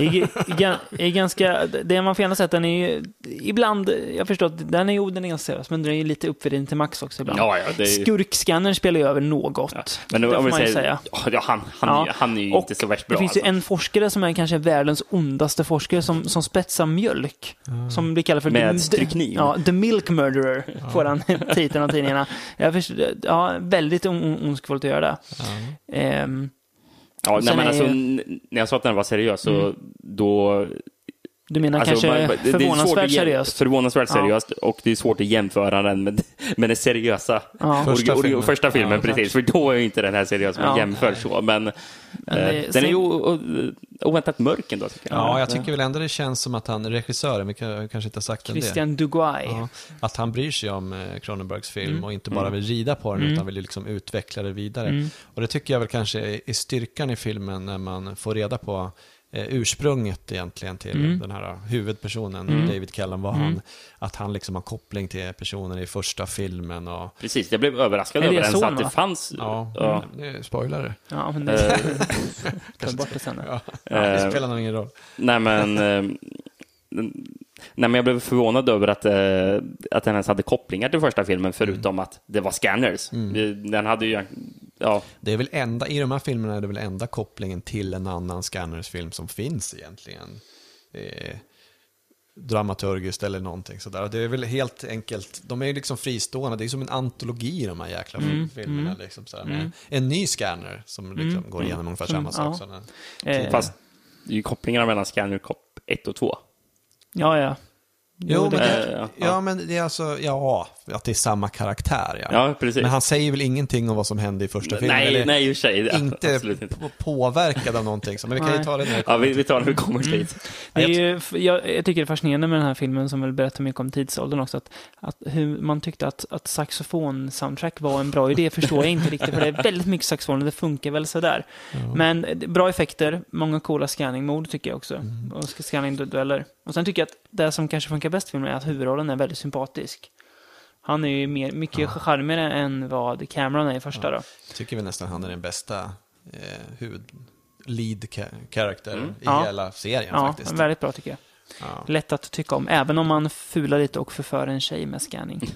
Speaker 2: är, ga- är ganska, det man får gärna säga att den är ju, ibland, jag förstår att den är ju den är ganska seriös, men den är ju lite uppvriden till max också ibland.
Speaker 1: Ja, ja, det är ju...
Speaker 2: Skurkscannern spelar ju över något.
Speaker 1: Men
Speaker 2: det
Speaker 1: om
Speaker 2: får
Speaker 1: vi
Speaker 2: man ju
Speaker 1: säger,
Speaker 2: säga.
Speaker 1: Ja, han, han, är ju- han är ju
Speaker 2: och
Speaker 1: inte så värst
Speaker 2: Det
Speaker 1: bra.
Speaker 2: finns ju
Speaker 1: alltså.
Speaker 2: en forskare som är kanske världens ondaste forskare som, som spetsar mjölk. Som blir kallad för...
Speaker 1: Med
Speaker 2: the-
Speaker 1: strykniv.
Speaker 2: Ja, The Milk Murderer får han titeln av tidningarna. Jag förstår, ja, väldigt on- on- ondskefullt att göra det. Ehm,
Speaker 1: Ja, nej,
Speaker 2: Sen
Speaker 1: men
Speaker 2: är Mm.
Speaker 1: alltså,
Speaker 2: ju-
Speaker 1: n- När jag sa att den var seriös, så då...
Speaker 2: du menar
Speaker 1: alltså,
Speaker 2: kanske
Speaker 1: man- det- det är svårt
Speaker 2: förvånansvärt
Speaker 1: att jäm-
Speaker 2: seriöst?
Speaker 1: Förvånansvärt
Speaker 2: Ja.
Speaker 1: seriöst, och det är svårt att jämföra den med, med den seriösa
Speaker 2: Ja.
Speaker 3: Första
Speaker 1: första filmen.
Speaker 3: filmen.
Speaker 1: första filmen
Speaker 2: Ja,
Speaker 1: precis, för då är ju inte den här seriös, man
Speaker 2: Ja.
Speaker 1: jämför så. Men,
Speaker 2: det-
Speaker 1: eh, den
Speaker 2: sen-
Speaker 1: är ju o- o- oväntat mörk ändå, tycker jag.
Speaker 3: Ja, jag tycker väl ändå det känns som att han, regissören, vi kan- kanske inte har sagt än det.
Speaker 2: Christian Duguay.
Speaker 3: Ja, att han bryr sig om eh, Cronenbergs film och inte bara vill rida på den utan vill ju liksom utveckla det vidare. Och det tycker jag väl kanske är- är styrkan i filmen när man får reda på eh, ursprunget egentligen till den här eh, huvudpersonen, David Kellan var han, att han liksom har koppling till personen i första filmen och
Speaker 1: Precis, jag blev överraskad
Speaker 2: Är det
Speaker 1: över ens
Speaker 2: son,
Speaker 1: att
Speaker 2: va?
Speaker 1: det fanns.
Speaker 3: ja,
Speaker 1: Ja.
Speaker 3: det är spoilare.
Speaker 2: Ja, men
Speaker 1: Eh,
Speaker 2: det... Ta bort det sen. då.
Speaker 3: Ja, det spelar nog ingen roll.
Speaker 1: Nej men, eh, nej, men jag blev förvånad över att, eh, att den ens hade kopplingar till första filmen, förutom
Speaker 3: Mm.
Speaker 1: att det var scanners. Det- Den hade ju, ja,
Speaker 3: Det är väl enda, I de här filmerna är det väl enda kopplingen till en annan Scanners-film som finns egentligen. Eh, dramaturgiskt eller någonting sådär. Och Det är väl helt enkelt, de är ju liksom fristående, det är som en antologi de här jäkla
Speaker 1: Mm.
Speaker 3: filmerna. Liksom, sådär, med En ny Scanner som liksom går igenom ungefär
Speaker 1: Mm.
Speaker 3: samma
Speaker 2: ja.
Speaker 3: sak. Sådana.
Speaker 2: Eh,
Speaker 1: fast det är ju kopplingarna mellan scanner och kopp 1 och 2.
Speaker 2: Ja, ja.
Speaker 3: Jo, men
Speaker 1: det-
Speaker 3: det,
Speaker 1: eh, ja.
Speaker 3: ja, men det är alltså, ja, att det är samma karaktär ja.
Speaker 1: Ja, precis.
Speaker 3: Men han säger väl ingenting om vad som hände i första filmen?
Speaker 1: Nej,
Speaker 3: eller
Speaker 1: nej i och för sig. det-
Speaker 3: Inte,
Speaker 1: Absolut inte.
Speaker 3: på- påverkad av någonting. Så, men vi kan ju
Speaker 2: Nej.
Speaker 3: ta det när vi
Speaker 1: Ja,
Speaker 3: kommer
Speaker 1: vi, vi tar när vi kommer
Speaker 2: Mm.
Speaker 1: dit.
Speaker 2: Det är ju, f- jag, jag tycker det är fascinerande med den här filmen som väl berättar mycket om tidsåldern också. Att, att hur man tyckte att, att saxofon-soundtrack var en bra idé förstår jag inte riktigt. För det är väldigt mycket saxofoner, det funkar väl sådär. Men eh, bra effekter, många coola scanning-mord tycker jag också. Och ska- scanning-dueller. Och sen tycker jag att det som kanske funkar bäst i filmen är att huvudrollen är väldigt sympatisk. Han är ju mer, mycket charmigare än vad Cameron är i första då.
Speaker 3: tycker vi nästan han är den bästa eh, huvud lead ca- character i
Speaker 2: Ja.
Speaker 3: hela serien
Speaker 2: Ja,
Speaker 3: faktiskt.
Speaker 2: väldigt bra tycker jag.
Speaker 3: Ja.
Speaker 2: Lätt att tycka om, även om man fular lite och förför en tjej med scanning.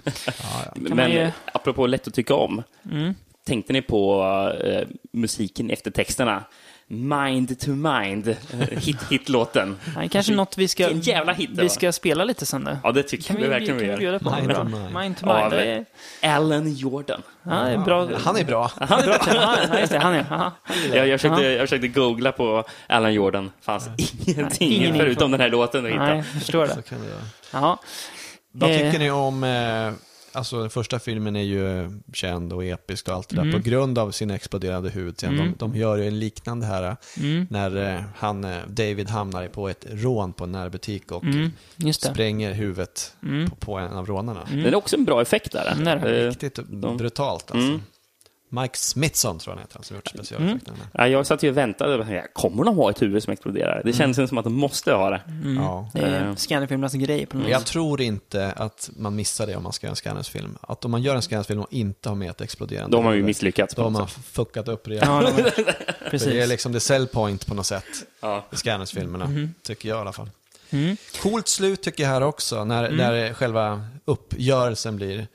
Speaker 2: man
Speaker 1: Men
Speaker 2: ju-
Speaker 1: apropå lätt att tycka om.
Speaker 2: Mm.
Speaker 1: Tänkte ni på eh, musiken efter texterna? Mind to mind, eh, hit, hitlåten.
Speaker 2: Nej, kanske något vi ska,
Speaker 1: Vilken jävla hit det
Speaker 2: vi
Speaker 1: var.
Speaker 2: ska spela lite sen då.
Speaker 1: Ja, det tycker
Speaker 2: kan
Speaker 1: jag verkligen vi
Speaker 2: kan vi bjuda
Speaker 1: gör.
Speaker 2: på.
Speaker 3: Mind
Speaker 2: Bra.
Speaker 3: to mind.
Speaker 2: mind to
Speaker 1: Ja,
Speaker 2: mind. Det är,
Speaker 1: Alan Jordan.
Speaker 2: ja, det är bra.
Speaker 3: Han är bra.
Speaker 2: Han är bra. Ja, just det. Han är, aha.
Speaker 1: Jag, jag, försökte, jag försökte googla på Alan Jordan. fanns ingenting
Speaker 2: Nej, ingen
Speaker 1: förutom den här låten att
Speaker 2: Nej,
Speaker 1: hitta.
Speaker 2: jag förstår
Speaker 3: Så
Speaker 2: det.
Speaker 3: kan det vara.
Speaker 2: Ja.
Speaker 3: Vad
Speaker 2: Eh.
Speaker 3: tycker ni om, eh, alltså den första filmen är ju känd och episk och allt det där på grund av sin exploderande hud. Sen De, de gör ju en liknande här
Speaker 2: Mm.
Speaker 3: när eh, han, eh, David hamnar på ett rån på en närbutik och
Speaker 2: Mm, just det. Mm,
Speaker 3: spränger huvudet på, på en av rånarna.
Speaker 1: Den är också en bra effekt där.
Speaker 2: Den är
Speaker 1: Eh, Mm.
Speaker 3: Riktigt brutalt alltså. Mike Smithson tror jag han heter, han som gjort specialeffekterna.
Speaker 1: ja, jag satt ju och väntade. och tänkte, Kommer de ha ett huvud som exploderar? Det känns
Speaker 3: Mm.
Speaker 1: som att de måste ha det.
Speaker 3: Ja.
Speaker 2: mm. Det
Speaker 1: Eh.
Speaker 2: är Scannerfilmernas grej på något
Speaker 3: Men
Speaker 2: vis.
Speaker 3: Jag tror inte att man missar det om man ska göra en Scanners-film. Att om man gör en Scanners-film och inte har med ett exploderande
Speaker 1: De har ju
Speaker 3: huvud,
Speaker 1: misslyckats.
Speaker 3: Då har
Speaker 1: på
Speaker 3: man
Speaker 1: något
Speaker 3: fuckat upp det.
Speaker 2: Ja, de-
Speaker 3: För det är
Speaker 2: precis.
Speaker 3: liksom the sell point på något sätt.
Speaker 1: Ja. Mm.
Speaker 3: I Scanners-filmerna,
Speaker 2: Mm.
Speaker 3: tycker jag i alla fall. Coolt slut tycker jag här också, när,
Speaker 2: Mm.
Speaker 3: när själva uppgörelsen blir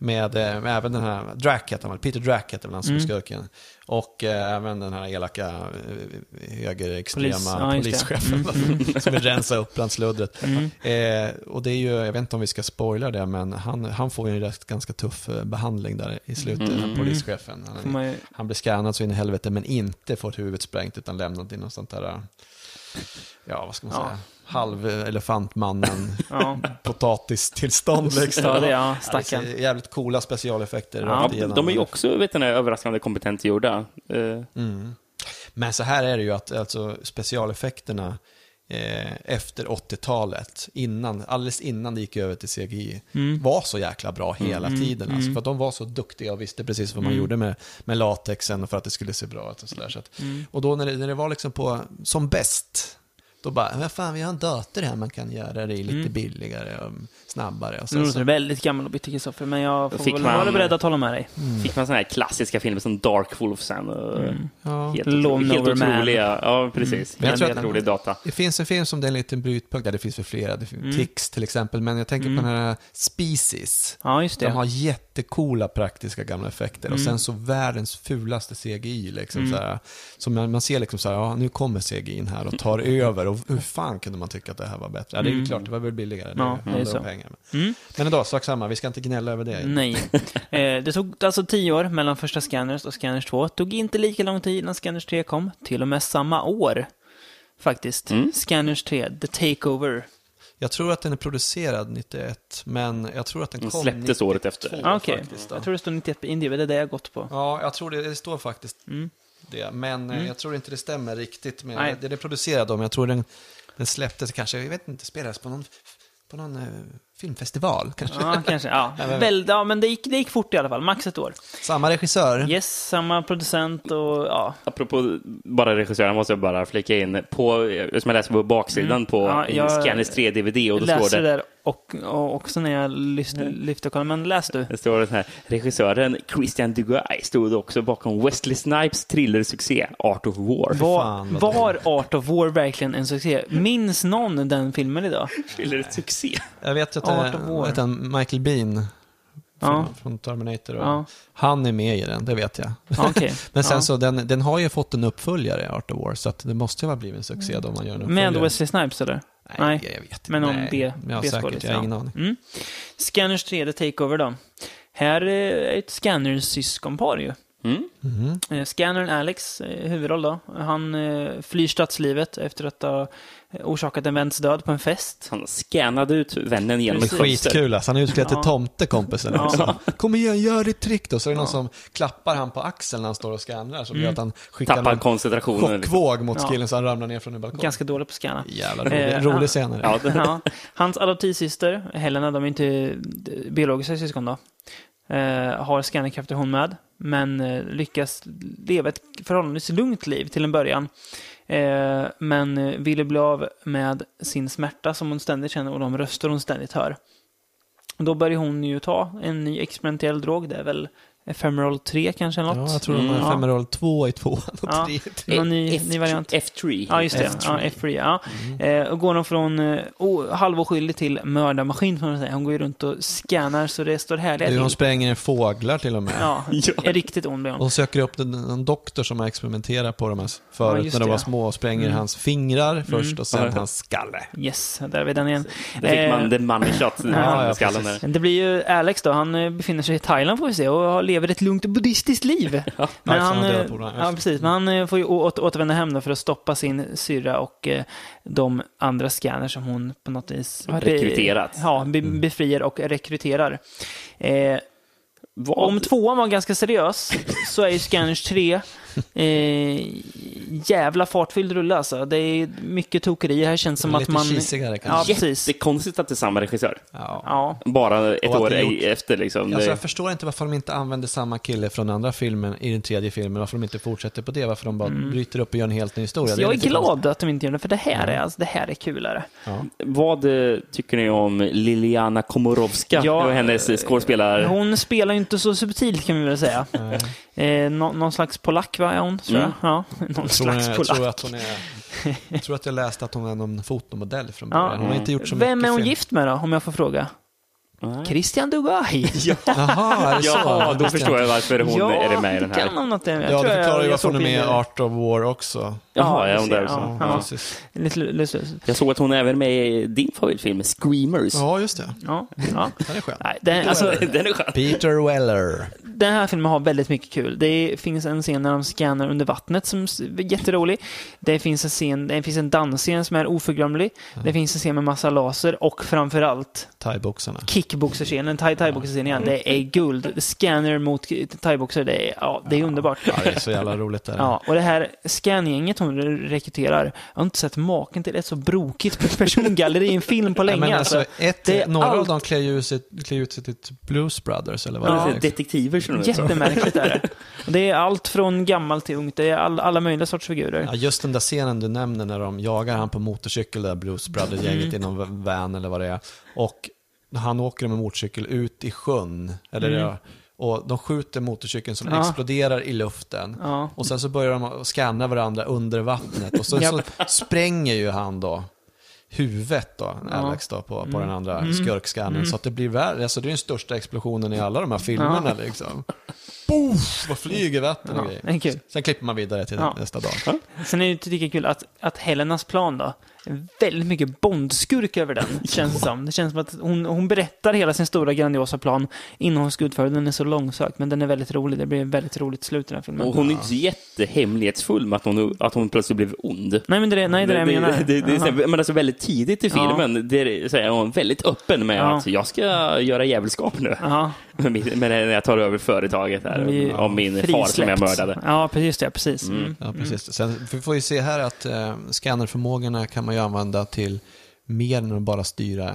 Speaker 3: med, eh, med även den här, Drack heter han väl, Peter Drack heter väl han som
Speaker 2: Mm.
Speaker 3: är skurken. Och eh, även den här elaka eh, högerextrema
Speaker 2: Polis- ja, just det. Mm,
Speaker 3: polischefen som vill rensa upp bland sluddret. Eh, och det är ju, jag vet inte om vi ska spoila det, men han, han får ju en rätt ganska tuff eh, behandling där i
Speaker 2: Mm,
Speaker 3: slutet, den här polischefen. Han,
Speaker 2: Får man ju-
Speaker 3: han blir skannad så in i helvete men inte fått huvudet sprängt utan lämnat i något sånt där, ja vad ska man
Speaker 2: Ja.
Speaker 3: säga, halv elefantmannen
Speaker 2: Ja.
Speaker 3: potatistillstånd liksom.
Speaker 2: Ja, det är- ja,
Speaker 3: det är
Speaker 2: stackarn.
Speaker 3: så jävligt coola specialeffekter.
Speaker 2: Ja,
Speaker 3: rakt
Speaker 1: sätt.
Speaker 3: igenom. Mm.
Speaker 1: de är ju också vet ni, överraskande kompetent gjorda. Eh,
Speaker 3: Men så här är det ju att alltså, specialeffekterna eh, efter 80-talet, innan, alldeles innan det gick över till CGI,
Speaker 2: Mm.
Speaker 3: var så jäkla bra hela tiden. Alltså, för att de var så duktiga och visste precis vad man gjorde med, med latexen och för att det skulle se bra ut. Och, så där, så att, och då när det, när det var liksom på, som bäst, Då bara, men fan vi har en dator här man kan göra det lite billigare och snabbare. Och
Speaker 2: Nu
Speaker 3: sen
Speaker 2: låter det
Speaker 3: så,
Speaker 2: väldigt gammal och bitter Kristoffer, men jag får
Speaker 1: Fick
Speaker 2: väl
Speaker 1: man-
Speaker 2: vara beredd att hålla med dig.
Speaker 1: Fick man såna här klassiska filmer som Dark Wolf sen. och
Speaker 3: ja.
Speaker 1: Helt,
Speaker 2: Lone Mm.
Speaker 1: otro- helt
Speaker 2: Over Man.
Speaker 1: otroliga. Ja, precis.
Speaker 3: Mm. Men jag
Speaker 1: Helt
Speaker 3: tror att-
Speaker 1: otrolig data.
Speaker 3: Det finns en film som det är en liten brytpunkt, där det finns väl flera, det finns Tix till exempel, men jag tänker på den här Species.
Speaker 2: Ja, Mm. just det.
Speaker 3: De har jättecoola praktiska gamla effekter och sen så världens fulaste CGI. Liksom,
Speaker 2: Mm.
Speaker 3: så här, så man, man ser liksom så här, ja, nu kommer CGI in här och tar över och hur fan kunde man tycka att det här var bättre? Ja, det är ju klart, det var väl billigare, det
Speaker 2: Mm. Ja, det är
Speaker 3: handlar
Speaker 2: så.
Speaker 3: om pengar.
Speaker 2: Mm.
Speaker 3: Men ändå, sak samma, vi ska inte gnälla över det.
Speaker 2: Nej. Eh, det tog alltså tio år mellan första Scanners och Scanners 2. Tog inte lika lång tid innan Scanners 3 kom. Till och med samma år, faktiskt. Scanners 3, The Takeover.
Speaker 3: Jag tror att den är producerad 91, men jag tror att den,
Speaker 1: Den
Speaker 3: kom
Speaker 1: släpptes
Speaker 3: 92
Speaker 1: året efter.
Speaker 2: Ah, Okej,
Speaker 3: faktiskt, då.
Speaker 2: jag tror det står 91 på Indie, det är det jag har gått på.
Speaker 3: Ja, jag tror det, det står faktiskt det. Men eh, jag tror inte det stämmer riktigt med
Speaker 2: Mm. Nej.
Speaker 3: det den är producerad om. Jag tror den, den släpptes kanske, jag vet inte, spelades på någon, på någon eh, filmfestival kanske.
Speaker 2: Ja, kanske. Ja. Väl, ja, men det gick, det gick fort i alla fall. Max ett år.
Speaker 3: Samma regissör.
Speaker 2: Yes, samma producent och ja.
Speaker 1: Apropå bara regissören måste jag bara flika in. På, eh, som jag läser på baksidan på
Speaker 2: Mm. Ja,
Speaker 1: en
Speaker 2: jag
Speaker 1: Scanners 3-DVD och då står
Speaker 2: Läste
Speaker 1: det
Speaker 2: det där och, och också när jag lyfte, lyfte och kollade. Men läs du.
Speaker 1: Det står det så här. Regissören Christian Duguay stod också bakom Wesley Snipes thrillersuccé Art of War.
Speaker 2: Var,
Speaker 3: fan, vad
Speaker 2: var Art of War verkligen en succé? Minns någon den filmen idag?
Speaker 1: Thrillersuccé?
Speaker 3: Jag vet att
Speaker 2: Art of
Speaker 3: det,
Speaker 2: War.
Speaker 3: vad heter han, Michael Bean
Speaker 2: Ja.
Speaker 3: från, från Terminator. Och,
Speaker 2: Ja.
Speaker 3: Han är med i den, det vet jag.
Speaker 2: Ja, okej.
Speaker 3: Men sen
Speaker 2: Ja.
Speaker 3: så, den, den har ju fått en uppföljare, Art of War, så att det måste ju ha blivit en succé då man gör en uppföljare.
Speaker 2: Med Wesley Snipes eller?
Speaker 3: Nej, jag vet inte.
Speaker 2: Men om
Speaker 3: Nej.
Speaker 2: det,
Speaker 3: Ja,
Speaker 2: det
Speaker 3: säkert. Jag har ingen aning.
Speaker 2: Mm. Scanners 3, The Takeover då. Här eh, är ett Scanners syskonpar ju.
Speaker 1: Mm.
Speaker 2: Eh, Scannern Alex, eh, huvudroll då, han eh, flyr stadslivet efter att ha eh, orsakat en väns död på en fest.
Speaker 1: Han scannade ut vännen genom ett
Speaker 2: Precis.
Speaker 1: fönster.
Speaker 3: Skitkul alltså, han är utklädd till
Speaker 2: Ja.
Speaker 3: tomte kompisen
Speaker 2: Ja.
Speaker 3: också. Kom igen, gör ditt trick då. Så är det någon som klappar han på axeln när han står och skannar som
Speaker 2: Mm.
Speaker 3: gör att han skickar
Speaker 1: Tappar
Speaker 3: en
Speaker 1: koncentrationen.
Speaker 3: chockvåg mot
Speaker 2: liksom. Ja.
Speaker 3: killen så han ramlar ner från en balkong.
Speaker 2: Ganska dålig på att scanna.
Speaker 3: Jävla
Speaker 2: Eh,
Speaker 3: rolig, rolig
Speaker 2: han-
Speaker 3: scen är det.
Speaker 1: Ja, det-
Speaker 2: Ja. Hans adoptivsyster, Helena, de är inte eh, biologiska syskon då, eh, har scannerkrafter hon med, men eh, lyckas leva ett förhållandevis lugnt liv till en början. Eh, men eh, ville bli av med sin smärta som hon ständigt känner och de röster hon ständigt hör. Och Då börjar hon ju ta en ny experimentell drog, det är väl Ephemeral 3 kanske eller något?
Speaker 3: Ja, jag tror de
Speaker 1: Mm.
Speaker 3: har
Speaker 2: Ja.
Speaker 3: Femerol 2 i tvåan och
Speaker 2: Ja.
Speaker 3: tre i trean.
Speaker 2: Någon ny,
Speaker 1: F-
Speaker 2: ny variant?
Speaker 1: F3.
Speaker 2: Ja, just det.
Speaker 3: F3.
Speaker 2: Ja, F3. Ja.
Speaker 3: Mm.
Speaker 2: Eh, och går hon från eh, o- halvoskyldig till mördarmaskin, får man säga. Hon går ju runt och scannar så det står härliga
Speaker 3: Du, de
Speaker 2: till.
Speaker 3: spränger fåglar till och med.
Speaker 2: Ja,
Speaker 1: Ja.
Speaker 2: är riktigt ond blir
Speaker 3: Och
Speaker 2: hon.
Speaker 3: de söker upp en, en doktor som har experimenterat på dem här
Speaker 2: Ja, Mm.
Speaker 3: förut
Speaker 2: just
Speaker 3: när de
Speaker 2: det.
Speaker 3: var små och spränger hans fingrar först och sen
Speaker 1: Ja.
Speaker 3: hans skalle.
Speaker 2: Yes, där är vi den igen.
Speaker 1: Där fick man
Speaker 2: Eh,
Speaker 1: the money shot i
Speaker 3: ja,
Speaker 1: ja, skallen.
Speaker 3: precis.
Speaker 1: Där.
Speaker 2: det blir ju Alex då, han eh, befinner sig i Thailand får vi se och har- lever ett lugnt buddhistiskt liv. men
Speaker 3: Ja,
Speaker 2: han,
Speaker 3: han har
Speaker 2: eh,
Speaker 3: delat på det här, just
Speaker 2: ja,
Speaker 3: det.
Speaker 2: precis, men han eh, får ju å- åter- återvända hem då för att stoppa sin syrra och eh, de andra scanner som hon på något vis
Speaker 1: Har rekryterat.
Speaker 2: Ja, be,
Speaker 3: Mm.
Speaker 2: befriar och rekryterar. Eh,
Speaker 1: Vad-
Speaker 2: Om tvåan var ganska seriös så är ju Scanners 3 eh, jävla fartfylld rulle alltså. Det är mycket tokerier här känns som
Speaker 3: Lite
Speaker 2: att man...
Speaker 3: kisigare
Speaker 2: Ja,
Speaker 3: kanske.
Speaker 2: precis.
Speaker 1: Det är konstigt att det är samma regissör.
Speaker 3: Ja.
Speaker 2: Ja.
Speaker 1: Bara ett
Speaker 3: Och att
Speaker 1: år
Speaker 3: det är gjort-
Speaker 1: efter liksom.
Speaker 3: Alltså,
Speaker 1: Det-
Speaker 3: jag förstår inte varför de inte använder samma kille från andra filmen i den tredje filmen, varför de inte fortsätter på det, varför de bara bryter upp och gör en helt ny historia.
Speaker 2: Så Mm.
Speaker 3: Det
Speaker 2: jag är
Speaker 3: lite konstigt.
Speaker 2: glad att de inte gör det, för det här är, alltså, det här är kulare.
Speaker 1: Vad eh, tycker ni om Liliana Komorowska?
Speaker 2: Ja,
Speaker 1: det var hennes eh, skådespelare.
Speaker 2: Hon spelar ju inte så subtilt kan vi väl säga. Eh, nå, någon slags polack va, är hon? Tror jag.
Speaker 1: Mm.
Speaker 2: Ja, någon
Speaker 3: Jag tror,
Speaker 2: slags
Speaker 3: jag, jag, tror
Speaker 2: polack.
Speaker 3: att hon är, jag tror att jag läste att hon är någon fotomodell från
Speaker 2: Ja.
Speaker 3: början. Hon har inte gjort så
Speaker 2: Vem
Speaker 3: mycket
Speaker 2: är hon
Speaker 3: film.
Speaker 2: gift med då, om jag får fråga?
Speaker 1: Nej.
Speaker 2: Christian Dugai.
Speaker 3: Jaha, är det så?
Speaker 1: Ja, då förstår jag varför hon
Speaker 2: ja,
Speaker 1: är med i den
Speaker 2: det kan
Speaker 1: här.
Speaker 2: hon att det är. Jag
Speaker 3: Ja,
Speaker 2: tror
Speaker 3: det
Speaker 2: jag-
Speaker 3: förklarar ju
Speaker 2: jag
Speaker 3: varför
Speaker 2: såg
Speaker 3: hon är med i
Speaker 2: bilder.
Speaker 3: Art of War också.
Speaker 1: Jaha, är
Speaker 2: jag
Speaker 1: hon
Speaker 2: ser,
Speaker 1: där
Speaker 2: ja,
Speaker 1: också?
Speaker 2: ja.
Speaker 1: Ja.
Speaker 3: precis.
Speaker 2: Lite lustigt.
Speaker 1: Jag såg att hon är även med i din favoritfilm, Screamers.
Speaker 3: Ja, just det.
Speaker 2: Ja, ja.
Speaker 3: Den är skön.
Speaker 2: Nej, den, alltså,
Speaker 1: Den är skön.
Speaker 3: Peter Weller.
Speaker 2: den här filmen har väldigt mycket kul. Det finns en scen när de scannar under vattnet som s- är jätterolig. Det finns en, scen, det finns
Speaker 3: Mm.
Speaker 2: en dansscen som är oförglömlig. Det finns en scen med massa laser och framförallt
Speaker 3: Thaiboxarna.
Speaker 2: kickboxerscenen, thai-thai-boxerscenen igen, det är guld. Scanner mot thai-boxare, det är, ja, det är underbart.
Speaker 3: Ja, det är så jävla roligt där.
Speaker 2: Ja, och det här scan-gänget hon rekryterar, jag har inte sett maken till ett så brokigt persongalleri i en film på
Speaker 3: Nej,
Speaker 2: länge.
Speaker 3: men alltså,
Speaker 2: alltså.
Speaker 3: ett,
Speaker 2: Det är
Speaker 3: några av
Speaker 2: allt.
Speaker 3: dem klär ju ut sig, klär ut sig till typ Blues Brothers eller vad
Speaker 2: Ja.
Speaker 3: det
Speaker 1: Ja.
Speaker 3: är.
Speaker 1: Detektiver känner jag mig som.
Speaker 2: Jättemärkligt är det. Och Det är allt från gammalt till ungt, det är all, alla möjliga sorts figurer.
Speaker 3: Ja, just den där scenen du nämner när de jagar han på motorcykel, där Blues Brothers-gänget i någon van eller vad det är. Och han åker med motorcykel ut i sjön, eller ja, och de skjuter motorcykeln som
Speaker 2: Ja.
Speaker 3: exploderar i luften.
Speaker 2: Ja.
Speaker 3: Och sen så börjar de att scanna varandra under vattnet och sen så spränger ju han då huvudet då, Alex då, på, på
Speaker 2: Mm.
Speaker 3: den andra skurkscannen. Så att det blir värre, alltså det är den största explosionen i alla de här filmerna liksom. Boff, vad flyger vatten och
Speaker 2: Ja,
Speaker 3: grejer.
Speaker 2: det är kul.
Speaker 3: Sen klipper man vidare till
Speaker 2: Ja.
Speaker 3: nästa dag.
Speaker 2: Sen är det inte lika kul att, att Helenas plan då, är väldigt mycket bondskurk över den, känns det som. Det känns som att hon, hon berättar hela sin stora grandiosa plan innan hon ska utföra den. Den är så långsökt, men den är väldigt rolig. Det blir ett väldigt roligt slut i den här filmen.
Speaker 1: Och hon är inte så jättehemlighetsfull med att hon, att hon plötsligt blev ond.
Speaker 2: Nej, men det är nej, det, är det jag menar.
Speaker 1: det, det, det är
Speaker 2: Jaha.
Speaker 1: såhär, men alltså väldigt tidigt i
Speaker 2: Ja.
Speaker 1: filmen det är, såhär, hon är väldigt öppen med
Speaker 2: Ja.
Speaker 1: att jag ska göra jävelskap nu.
Speaker 2: Jaha.
Speaker 1: Med mitt- med det- när jag tar över företaget här.
Speaker 2: Vi-
Speaker 1: Om min far som jag
Speaker 2: Frisläppt.
Speaker 1: mördade.
Speaker 2: Ja, precis det. Precis. Mm.
Speaker 3: Ja, precis. Sen, vi får ju se här att eh, scannerförmågorna kan man ju använda till mer än att bara styra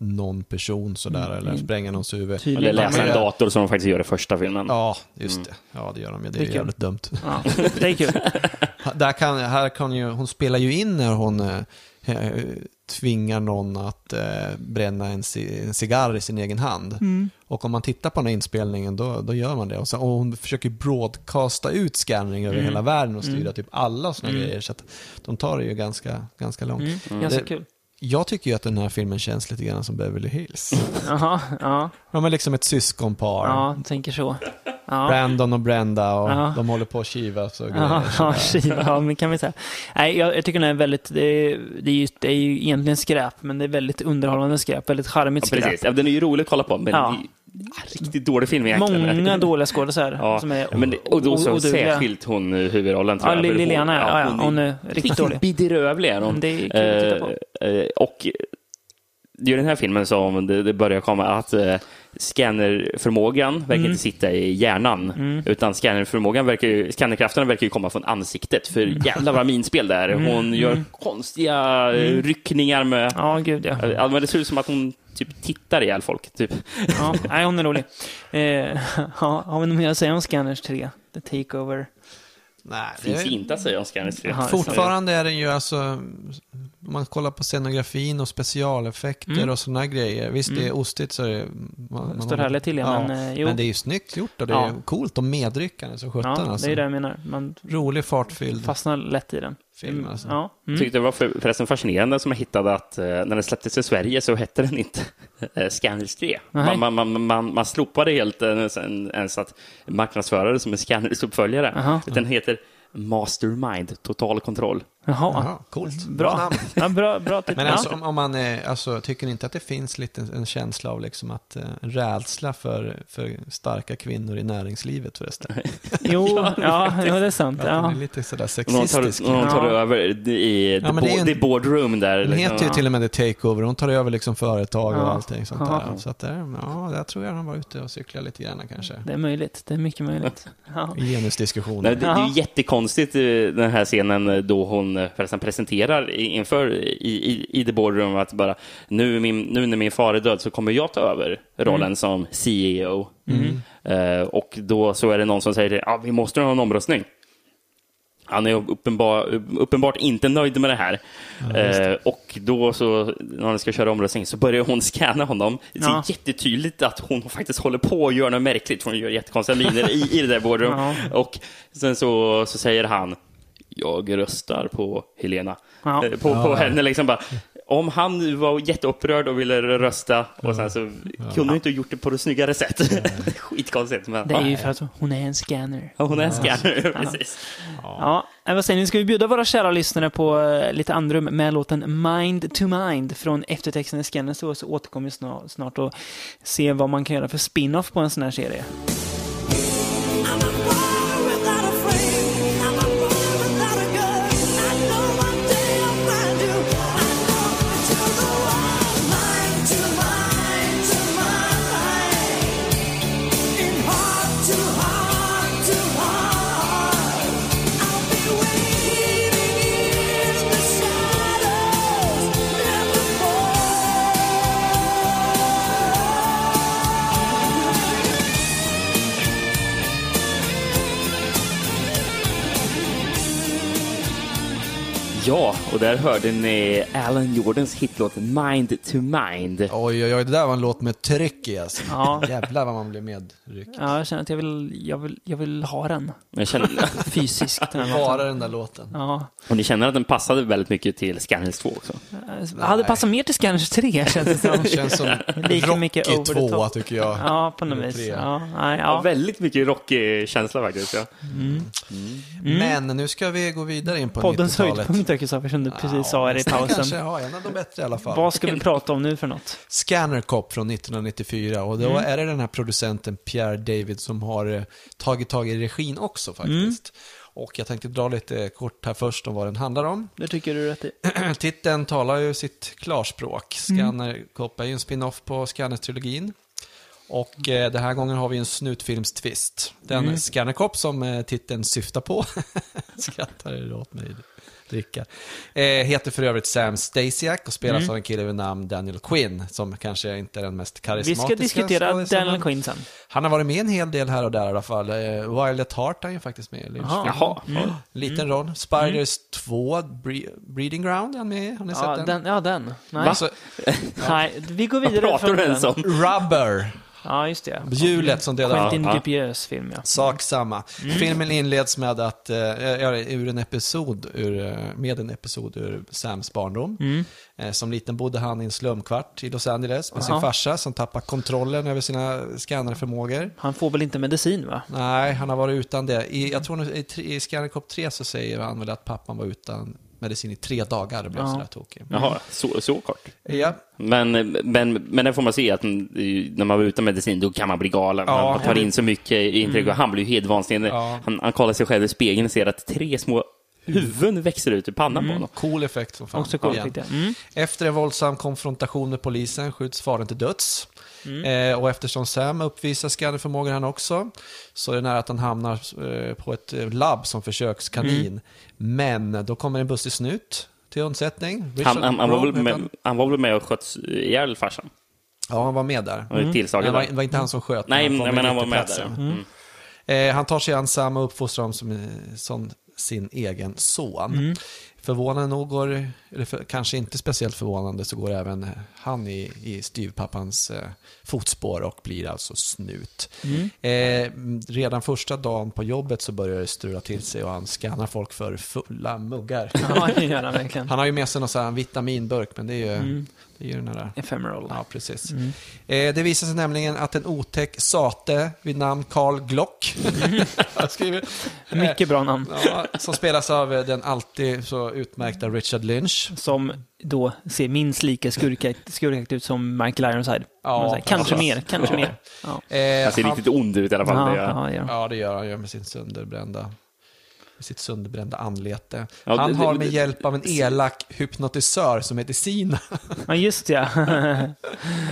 Speaker 3: någon person sådär, eller spränga någons huvud.
Speaker 1: Eller
Speaker 2: Mm. Tydligen.
Speaker 1: läsa en
Speaker 3: Ja.
Speaker 1: dator Mm. som de faktiskt gör i första filmen.
Speaker 3: Ja, just det. Ja, det gör de ju. Det är
Speaker 2: Det är kul.
Speaker 3: jävligt dumt.
Speaker 2: Ja, det är kul.
Speaker 3: Ha- Där kan, här kan ju, hon spelar ju in när hon eh, eh, tvingar någon att eh, bränna en, ci- en cigarr i sin egen hand. Och om man tittar på den här inspelningen då, då gör man det. Och, så, och hon försöker broadcasta ut scanning
Speaker 2: Mm.
Speaker 3: över hela världen och styra typ alla sådana grejer. Så att de tar det ju ganska, ganska
Speaker 2: Mm.
Speaker 3: långt.
Speaker 1: Mm.
Speaker 2: Ganska
Speaker 3: Det-
Speaker 2: kul.
Speaker 3: Jag tycker ju att den här filmen känns lite grann som Beverly Hills.
Speaker 2: Jaha, ja.
Speaker 3: De är liksom ett syskonpar.
Speaker 2: Ja, tänker så. Ja.
Speaker 3: Brandon och Brenda och
Speaker 2: Ja.
Speaker 3: de håller på att kivas och grejer.
Speaker 2: Ja, ja,
Speaker 3: sådär.
Speaker 2: skiva, ja, men kan vi säga. Nej, jag, jag tycker den är väldigt, det är, det, är ju, det är ju egentligen skräp, men det är väldigt underhållande skräp, väldigt charmigt
Speaker 1: Ja,
Speaker 2: skräp.
Speaker 1: precis. Ja, Den är ju rolig att kolla på, men
Speaker 2: Ja.
Speaker 1: det är en riktigt dålig film egentligen.
Speaker 2: Många dåliga skådisar
Speaker 1: Ja,
Speaker 2: som är
Speaker 1: men, det- och då så
Speaker 2: o- odugliga.
Speaker 1: särskilt hon i huvudrollen tror
Speaker 2: Ja,
Speaker 1: jag. för
Speaker 2: Liliana, ja, ja, hon är riktigt dålig. Mm,
Speaker 1: bedrövlig är hon.
Speaker 2: Det är kul att titta på.
Speaker 1: Eh, eh, och det är ju den här filmen som det, det börjar komma att eh, scannerförmågan verkar
Speaker 2: Mm.
Speaker 1: inte sitta i hjärnan. Utan scannerförmågan verkar ju, scannerkrafterna verkar ju komma från ansiktet. För
Speaker 2: Mm.
Speaker 1: jävlar vad minspel det är. Hon gör konstiga eh, ryckningar med...
Speaker 2: Mm. Ja, gud ja.
Speaker 1: Ja. Men det ser ut som att hon typ tittar ihjäl folk. Typ.
Speaker 2: ja. Nej, hon är rolig. Eh, ja, har vi något mer att säga om Scanners 3? The Takeover?
Speaker 3: Nej, det
Speaker 1: Finns
Speaker 3: är-
Speaker 1: inte att säga om Scanners 3.
Speaker 2: Jaha.
Speaker 3: Fortfarande är den ju alltså, om man kollar på scenografin och specialeffekter och sådana grejer. Visst, det är ostigt så är det... Man,
Speaker 2: Mm. Står härligt till, ja, men, eh, jo.
Speaker 3: men det är ju snyggt gjort och det är
Speaker 2: Ja.
Speaker 3: coolt och medryckande som sjutton
Speaker 2: Ja,
Speaker 3: alltså.
Speaker 2: det är det jag menar. Man
Speaker 3: Rolig, fartfylld
Speaker 2: fastnar lätt i den.
Speaker 3: film alltså.
Speaker 2: Ja. Mm.
Speaker 1: Tyckte det var för, förresten fascinerande som jag hittade att eh, när den släpptes i Sverige så hette den inte eh, Scanners 3.
Speaker 2: Nej.
Speaker 1: Man, man, man, man, man slopade helt eh, sen- ens att marknadsföra det som en Scanners uppföljare.
Speaker 2: Aha.
Speaker 1: Den heter Mastermind, total kontroll.
Speaker 2: Jaha.
Speaker 3: Jaha, coolt.
Speaker 2: Bra.
Speaker 3: namn.
Speaker 2: Ja, bra, bra titel.
Speaker 3: Men
Speaker 2: Ja.
Speaker 3: alltså, om, om man, eh, alltså, tycker ni inte att det finns lite en känsla av liksom att, eh, en rädsla för, för starka kvinnor i näringslivet förresten?
Speaker 2: Jo, ja, ja, det är sant.
Speaker 3: Att
Speaker 2: ja.
Speaker 3: den är lite sådär
Speaker 1: Någon tar,
Speaker 3: sexistisk.
Speaker 1: någon tar
Speaker 2: Ja.
Speaker 1: över i the,
Speaker 3: Ja, men det är ju
Speaker 1: bo,
Speaker 3: en-
Speaker 1: the boardroom där.
Speaker 3: Hon
Speaker 1: liksom.
Speaker 3: heter ju till och med The Takeover, hon tar över liksom företag och
Speaker 2: Ja.
Speaker 3: allting sånt
Speaker 2: Ja.
Speaker 3: där. Så att där, ja, där tror jag han var ute och cyklade lite grann kanske.
Speaker 2: Det är möjligt. Det är mycket möjligt. Ja.
Speaker 3: I
Speaker 1: Nej,
Speaker 3: genusdiskussioner.
Speaker 1: det, det är
Speaker 2: Jaha.
Speaker 1: ju jättekonstigt eh, den här scenen eh, då hon eh, förresten presenterar i- inför i, i, i the boardroom att bara nu, är min, nu när min far är död så kommer jag ta över rollen som CEO. Eh, och då så är det någon som säger att ah, vi måste ha en omröstning. Han är uppenbar, uppenbart inte nöjd med det här. eh, och då så, när han ska köra omröstning så börjar hon scanna honom. Det är
Speaker 2: Ja.
Speaker 1: jättetydligt att hon faktiskt håller på och gör något märkligt. för Hon gör jättekonstiga miner i, i det där boardroom. Och sen så, så säger han, jag röstar på Helena.
Speaker 2: Ja.
Speaker 1: Eh, På, på henne liksom bara. Om han nu var jätteupprörd och ville rösta och sen så kunde hon inte ha gjort det på det snyggare sätt. Skitkonstigt. Men,
Speaker 2: Det är ju för att hon är en scanner.
Speaker 1: Ja, hon är scanner, precis.
Speaker 2: Ja. Nej, Vad säger ni? Ska vi bjuda våra kära lyssnare på eh, lite andrum med låten Mind to Mind från eftertexten i Scanners så så återkommer vi snart, snart och se vad man kan göra för spin-off på en sån här serie.
Speaker 4: I'm a boy without a frame. I'm a boy without a gun. I know one day I'll find you. I know that you're the one. Mine to mine to mine.
Speaker 1: Ja, och där hörde ni Alan Jordans hitlåt Mind to Mind.
Speaker 3: Oj, oj, oj, det där var en låt med tryck i alltså.
Speaker 2: Ja.
Speaker 3: Jävlar vad man blev medryckt.
Speaker 2: Ja, jag känner att jag vill, jag vill, jag vill ha den.
Speaker 1: Jag känner,
Speaker 2: Fysiskt. Den här låten.
Speaker 3: Bara den där låten.
Speaker 2: Ja.
Speaker 1: och ni känner att den passade väldigt mycket till Scanhills 2 också?
Speaker 2: Jag hade passat mer till Scanners 3 känns det som.
Speaker 3: Det känns som
Speaker 2: Lika mycket
Speaker 3: Rocky
Speaker 2: over the
Speaker 3: 2
Speaker 2: top.
Speaker 3: tycker jag.
Speaker 2: Ja, på något vis.
Speaker 3: Tre.
Speaker 2: Ja, nej,
Speaker 1: Ja.
Speaker 2: ja.
Speaker 1: Väldigt mycket rockig känsla faktiskt. Ja.
Speaker 3: Men nu ska vi gå vidare in på
Speaker 2: Mm. Poddens
Speaker 3: 90-talet.
Speaker 2: höjdpunkt är som du precis sa här i
Speaker 3: nästan Kanske,
Speaker 2: pausen.
Speaker 3: ja, en av de bättre i alla fall.
Speaker 2: Vad ska vi prata om nu för något?
Speaker 3: Scanner Cop från 1994 och då är det den här producenten Pierre David som har eh, tagit tag i regin också faktiskt. Och jag tänkte dra lite kort här först om vad den handlar om.
Speaker 2: Det tycker du rätt i.
Speaker 3: Titeln talar ju sitt klarspråk.
Speaker 2: Mm.
Speaker 3: Scanner Cop är ju en spin-off på Scanners-trilogin. Och eh, den här gången har vi en snutfilmstvist. Den
Speaker 2: Mm.
Speaker 3: Scanner Cop som eh, titeln syftar på, skrattar du åt mig Rickard, eh, heter för övrigt Sam Stasiak och spelas av en kille vid namn Daniel Quinn, som kanske inte är den mest
Speaker 2: Mm. Vi
Speaker 3: karismatiska
Speaker 2: ska diskutera
Speaker 3: skådespelaren.
Speaker 2: Daniel Quinn sen.
Speaker 3: Han har varit med en hel del här och där i alla fall. Eh, Violet Hart är ju faktiskt med i Lynch.
Speaker 1: Jaha.
Speaker 2: Mm.
Speaker 3: Liten roll. Spiders 2, Bre- Breeding Ground, är han med i? Har ni
Speaker 2: Ja,
Speaker 3: sett den?
Speaker 2: den. Ja, den. Nej,
Speaker 3: Alltså,
Speaker 2: nej vi går
Speaker 1: Vad
Speaker 2: vidare.
Speaker 1: pratar
Speaker 2: från
Speaker 1: du ens om?
Speaker 3: Rubber,
Speaker 2: Ja, just det.
Speaker 3: hjulet som dödar
Speaker 2: Quentin
Speaker 1: Ja.
Speaker 2: Dupieux film, ja.
Speaker 3: Sak samma.
Speaker 2: Mm.
Speaker 3: Filmen inleds med att, eh, ja, ur en episod, ur, eh, med en episod ur Sams barndom.
Speaker 2: Mm.
Speaker 3: Eh, som liten bodde han i en slumkvart i Los Angeles med sin
Speaker 2: Aha.
Speaker 3: farsa som tappar kontrollen över sina skannerförmågor.
Speaker 2: Han får väl inte medicin, va?
Speaker 3: Nej, han har varit utan det. I, jag tror nu, i, tre- i Scanner Cop 3 så säger han väl att pappan var utan medicin i tre dagar och blev
Speaker 2: Ja.
Speaker 3: sådär tokig.
Speaker 1: Jaha, så, så kort.
Speaker 3: Ja,
Speaker 1: Men, men, men där får man se att mm, när man var utan medicin då kan man bli galen.
Speaker 3: Ja.
Speaker 1: man tar in så mycket intryck och han blir ju helt vansinnig.
Speaker 3: Ja.
Speaker 1: Han, han kollar sig själv i spegeln och ser att tre små huvuden växer ut ur pannan på honom.
Speaker 3: cool effekt som fan.
Speaker 2: Också cool
Speaker 3: Ja.
Speaker 2: effekt, ja. Mm.
Speaker 3: Efter en våldsam konfrontation med polisen skjuts fadern till döds.
Speaker 1: Mm.
Speaker 3: Eh, och eftersom Sam uppvisar skannerförmågor han också, så är det nära att han hamnar eh, på ett eh, labb som
Speaker 1: Mm.
Speaker 3: försökskanin. Men då kommer en bussig snut till undsättning.
Speaker 1: Han, han, han, var
Speaker 3: Brown
Speaker 1: väl
Speaker 3: heter
Speaker 1: med,
Speaker 3: han.
Speaker 1: han var väl med och sköt ihjäl farsan?
Speaker 3: Ja, han var med där.
Speaker 1: Han var ju tillsagad
Speaker 3: Det var,
Speaker 1: där.
Speaker 3: det var inte han som sköt.
Speaker 1: Nej,
Speaker 3: men
Speaker 1: men han var med där.
Speaker 3: platsen.
Speaker 1: Mm.
Speaker 3: Eh, han tar sig an Sam och uppfostrar honom som, eh, som sin egen son. Förvånande nog går, eller för, kanske inte speciellt förvånande, så går även eh, han i, i styvpappans eh, fotspår och blir alltså snut.
Speaker 2: Mm.
Speaker 3: Eh, m, redan första dagen på jobbet så börjar det strula till sig och han skannar folk för fulla muggar.
Speaker 2: Ja, det gör han verkligen.
Speaker 3: Han har ju med sig någon sån här vitaminburk, men det är ju, det är ju den här
Speaker 2: Ephemeral.
Speaker 3: Ja, precis. Eh, det visar sig nämligen att en otäck sate vid namn Carl Glock, Jag skriver,
Speaker 2: Mycket bra namn.
Speaker 3: ja, som spelas av eh, den alltid så utmärkta Richard Lynch.
Speaker 2: Som då ser minst lika skurkakt, skurkakt ut som Michael Ironside.
Speaker 3: Ja,
Speaker 2: Man säger, kanske
Speaker 3: precis.
Speaker 2: mer, kanske mer. Ja,
Speaker 3: Eh,
Speaker 1: Han ser
Speaker 3: han-
Speaker 1: riktigt ond ut i alla fall.
Speaker 2: ja,
Speaker 1: det gör han.
Speaker 2: ja, ja.
Speaker 3: Ja, det gör han ju med sin sönderbrända med sitt sönderbrända anlete.
Speaker 1: Ja,
Speaker 3: han
Speaker 1: det-
Speaker 3: har
Speaker 1: det-
Speaker 3: med
Speaker 1: det-
Speaker 3: hjälp av en elak hypnotisör som heter Sina.
Speaker 2: ja, just ja.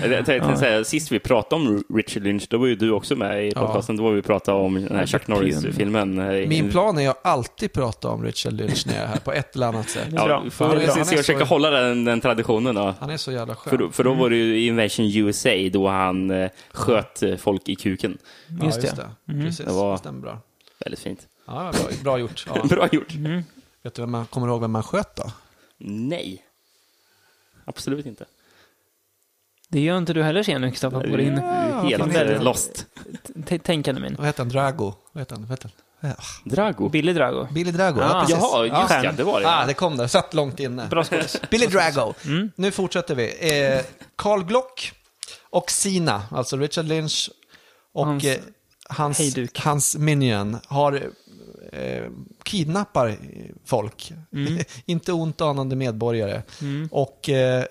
Speaker 1: Jag tänkte säga, sist vi pratade om Richard Lynch, då var ju du också med i
Speaker 3: Ja.
Speaker 1: podcasten. Då var vi pratade om den här Chuck Norris-filmen.
Speaker 3: Min plan är att alltid prata om Richard Lynch när jag är här på ett eller annat sätt.
Speaker 1: Ja,
Speaker 2: Bra.
Speaker 1: får
Speaker 3: Han är-
Speaker 1: vi
Speaker 3: han
Speaker 1: se,
Speaker 3: är
Speaker 1: se och försöka
Speaker 3: så-
Speaker 1: hålla den, den traditionen då.
Speaker 3: Han är så jävla skön.
Speaker 1: För, då- för då var det ju Invasion USA då han eh, sköt eh, folk i kuken.
Speaker 3: ja,
Speaker 2: just
Speaker 3: just
Speaker 2: det.
Speaker 3: det. Mm. Precis,
Speaker 1: Det var-
Speaker 3: det stämmer bra.
Speaker 1: Väldigt fint.
Speaker 3: Ja, bra, bra gjort. Ja.
Speaker 1: Bra gjort.
Speaker 3: Vet du vem man kommer du ihåg vem man sköt då?
Speaker 1: Nej. Absolut inte.
Speaker 2: Det gör inte du heller sen, Kristoffer, på
Speaker 1: Du är
Speaker 2: din
Speaker 1: Helt
Speaker 2: okej.
Speaker 1: eh, lost.
Speaker 2: t- tänkande min.
Speaker 3: Vad hette han? Drago? Vad hette han? Vad hette han? Eh,
Speaker 1: Drago.
Speaker 2: Billy Drago.
Speaker 3: Billy Drago,
Speaker 2: Ah,
Speaker 3: ja precis.
Speaker 1: Jaha, just
Speaker 3: ja.
Speaker 1: ja, Mm. det var det.
Speaker 3: Ah, det kom där. Satt långt inne.
Speaker 2: Bra skådis.
Speaker 3: Billy Drago. Nu fortsätter vi. Eh, Carl Glock och Sina, alltså Richard Lynch och
Speaker 2: Hans
Speaker 3: hans, eh, hans,
Speaker 2: hejduk.
Speaker 3: hans minion, har, eh, kidnappar eh, folk. Inte ont anande medborgare. Och eh,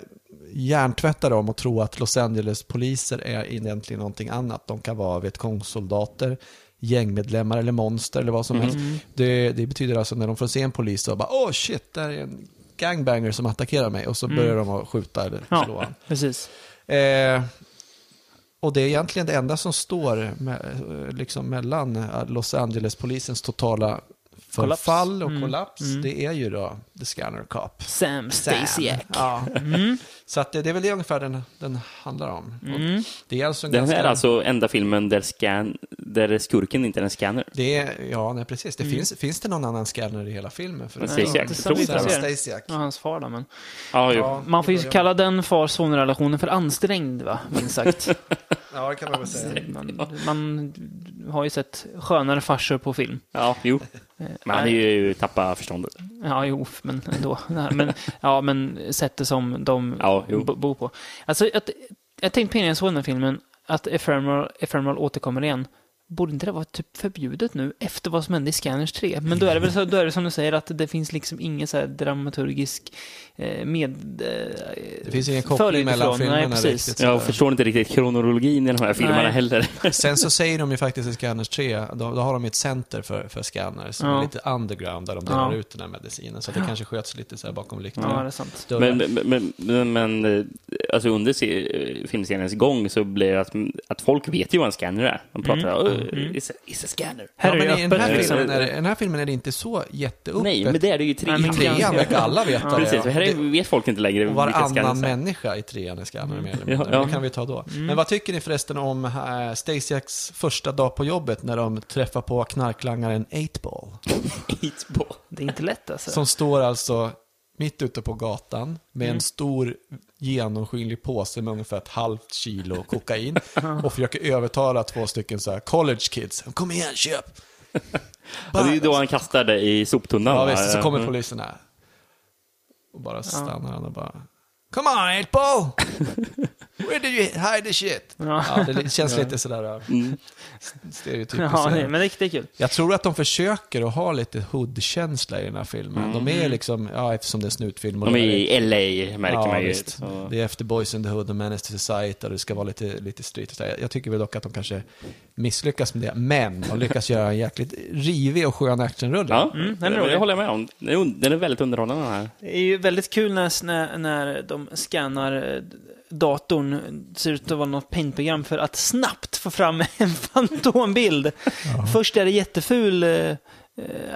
Speaker 3: hjärntvättar dem och tror att Los Angeles-poliser är egentligen någonting annat. De kan vara Vietcong-soldater gängmedlemmar eller monster eller vad som helst. Det, det betyder alltså när de får se en polis så bara åh shit, där är en gangbanger som attackerar mig och så börjar de att skjuta eller slå
Speaker 2: Ja,
Speaker 3: han.
Speaker 2: precis.
Speaker 3: Eh, och det är egentligen det enda som står me- eh, liksom mellan eh, Los Angeles-polisens totala
Speaker 2: Kollaps. Mm.
Speaker 3: förfall och kollaps, det är ju då The Scanner Cop.
Speaker 2: Sam
Speaker 3: Sam.
Speaker 2: Stasiak.
Speaker 3: Ja.
Speaker 2: Mm.
Speaker 3: Så att det, det är väl det ungefär den, den handlar om. Och
Speaker 2: Mm.
Speaker 3: Det är alltså en
Speaker 1: Den
Speaker 3: ganska...
Speaker 1: är alltså enda filmen där, scan, där skurken inte är en scanner.
Speaker 3: Det är, ja, nej, precis.
Speaker 2: Mm.
Speaker 3: Det finns, finns det någon annan scanner i hela filmen? För
Speaker 1: Men
Speaker 3: det?
Speaker 1: Stasiak,
Speaker 2: inte
Speaker 1: otroligt
Speaker 2: Sam
Speaker 1: bra.
Speaker 3: Sam
Speaker 2: Stasiak.
Speaker 3: Stasiak.
Speaker 2: Ja, hans far då, men.
Speaker 1: Ja, jo.
Speaker 3: Ja,
Speaker 2: Man får
Speaker 3: i
Speaker 2: ju
Speaker 3: början.
Speaker 2: kalla den far-son-relationen för ansträngd, va? Minst sagt.
Speaker 3: Ja, det kan man väl säga.
Speaker 2: man, man har ju sett skönare farsor på film.
Speaker 1: ja, jo. Men han är ju tappa förståndet.
Speaker 2: Ja, jo, men ändå. Nej, men, ja, men sättet som de
Speaker 1: Ja, jo.
Speaker 2: bo- bor på. Alltså, jag, jag tänkte på innan jag såg den här filmen att Ephemeral, Ephemeral återkommer igen. Borde inte det vara typ förbjudet nu efter vad som hände i Scanners 3? Men då är det väl så, då är det som du säger att det finns liksom ingen så här dramaturgisk eh, med... Eh,
Speaker 3: Det finns ingen
Speaker 2: följd
Speaker 3: koppling mellan
Speaker 2: ifrån.
Speaker 3: filmerna
Speaker 2: Nej, precis.
Speaker 3: riktigt.
Speaker 1: Jag
Speaker 3: sådär.
Speaker 1: förstår inte riktigt kronologin i de här filmerna
Speaker 2: Nej.
Speaker 1: heller.
Speaker 3: Sen så säger de ju faktiskt i Scanners 3, då, då har de ju ett center för, för scanners som
Speaker 2: Ja.
Speaker 3: är lite underground där de delar
Speaker 2: Ja.
Speaker 3: ut den här medicinen. Så att det kanske sköts lite så här bakom lyckta
Speaker 2: Ja, det är sant.
Speaker 3: dörrar.
Speaker 1: Men, men, men, men eh, alltså under se- eh, filmseriens gång så blir det att, att folk vet ju vad en scanner är. De pratar mm. it's, a, it's a scanner.
Speaker 2: Här
Speaker 3: ja, men
Speaker 2: är
Speaker 3: i
Speaker 2: det
Speaker 3: den här,
Speaker 2: öppet liksom.
Speaker 3: filmen är det, i den här filmen är det inte så jätteöppet.
Speaker 1: Nej, men det är det ju i
Speaker 2: Nej,
Speaker 1: trean.
Speaker 2: men ganska-
Speaker 3: Trean verkar alla veta det.
Speaker 1: Precis, för här är, vet folk inte längre
Speaker 3: Och
Speaker 1: vilka
Speaker 3: varannan
Speaker 1: scanners är.
Speaker 3: människa i trean är scanner
Speaker 2: Mm.
Speaker 3: mer eller
Speaker 1: Ja,
Speaker 3: mindre.
Speaker 1: ja.
Speaker 3: Det kan vi ta då. Men vad tycker ni förresten om eh, Stasiaks första dag på jobbet när de träffar på knarklangaren 8-ball?
Speaker 1: Hitball.
Speaker 2: Det är inte lätt alltså.
Speaker 3: Som står alltså mitt ute på gatan med
Speaker 2: Mm.
Speaker 3: en stor genomskinlig påse med ungefär ett halvt kilo kokain och försöker övertala två stycken så här college kids. Kom igen, köp!
Speaker 1: Ja, det är ju då han kastar det i soptunnan.
Speaker 3: Ja,
Speaker 1: va?
Speaker 3: visst, så kommer
Speaker 1: Mm.
Speaker 3: poliserna. Och bara stannar han och bara... Come on, Eightball! Where did you hide the shit?
Speaker 2: Ja.
Speaker 3: Ja, det li- känns lite sådär mm. stereotypiskt.
Speaker 2: Ja, nej,
Speaker 3: sådär.
Speaker 2: men det är det är kul.
Speaker 3: Jag tror att de försöker att ha lite hood-känsla i den här filmen. De är liksom, ja eftersom det är en snutfilm. och
Speaker 1: Mm. De är
Speaker 3: det där
Speaker 1: i LA, märker
Speaker 3: ja,
Speaker 1: man ju.
Speaker 3: visst.
Speaker 1: Så-
Speaker 3: Det är efter Boys in the Hood och Menace to Society och det ska vara lite, lite street. och sådär. Jag tycker väl dock att de kanske misslyckas med det, men de lyckas göra en jäkligt rivig och skön actionrulle.
Speaker 1: Ja,
Speaker 2: den är
Speaker 1: det-
Speaker 2: rolig.
Speaker 1: det håller jag med om. Den är un- Den är väldigt underhållande den här.
Speaker 2: Det är ju väldigt kul när, när, när de scannar eh, datorn, det ser ut att vara något paintprogram för att snabbt få fram en fantombild. Först är det jätteful eh, eh,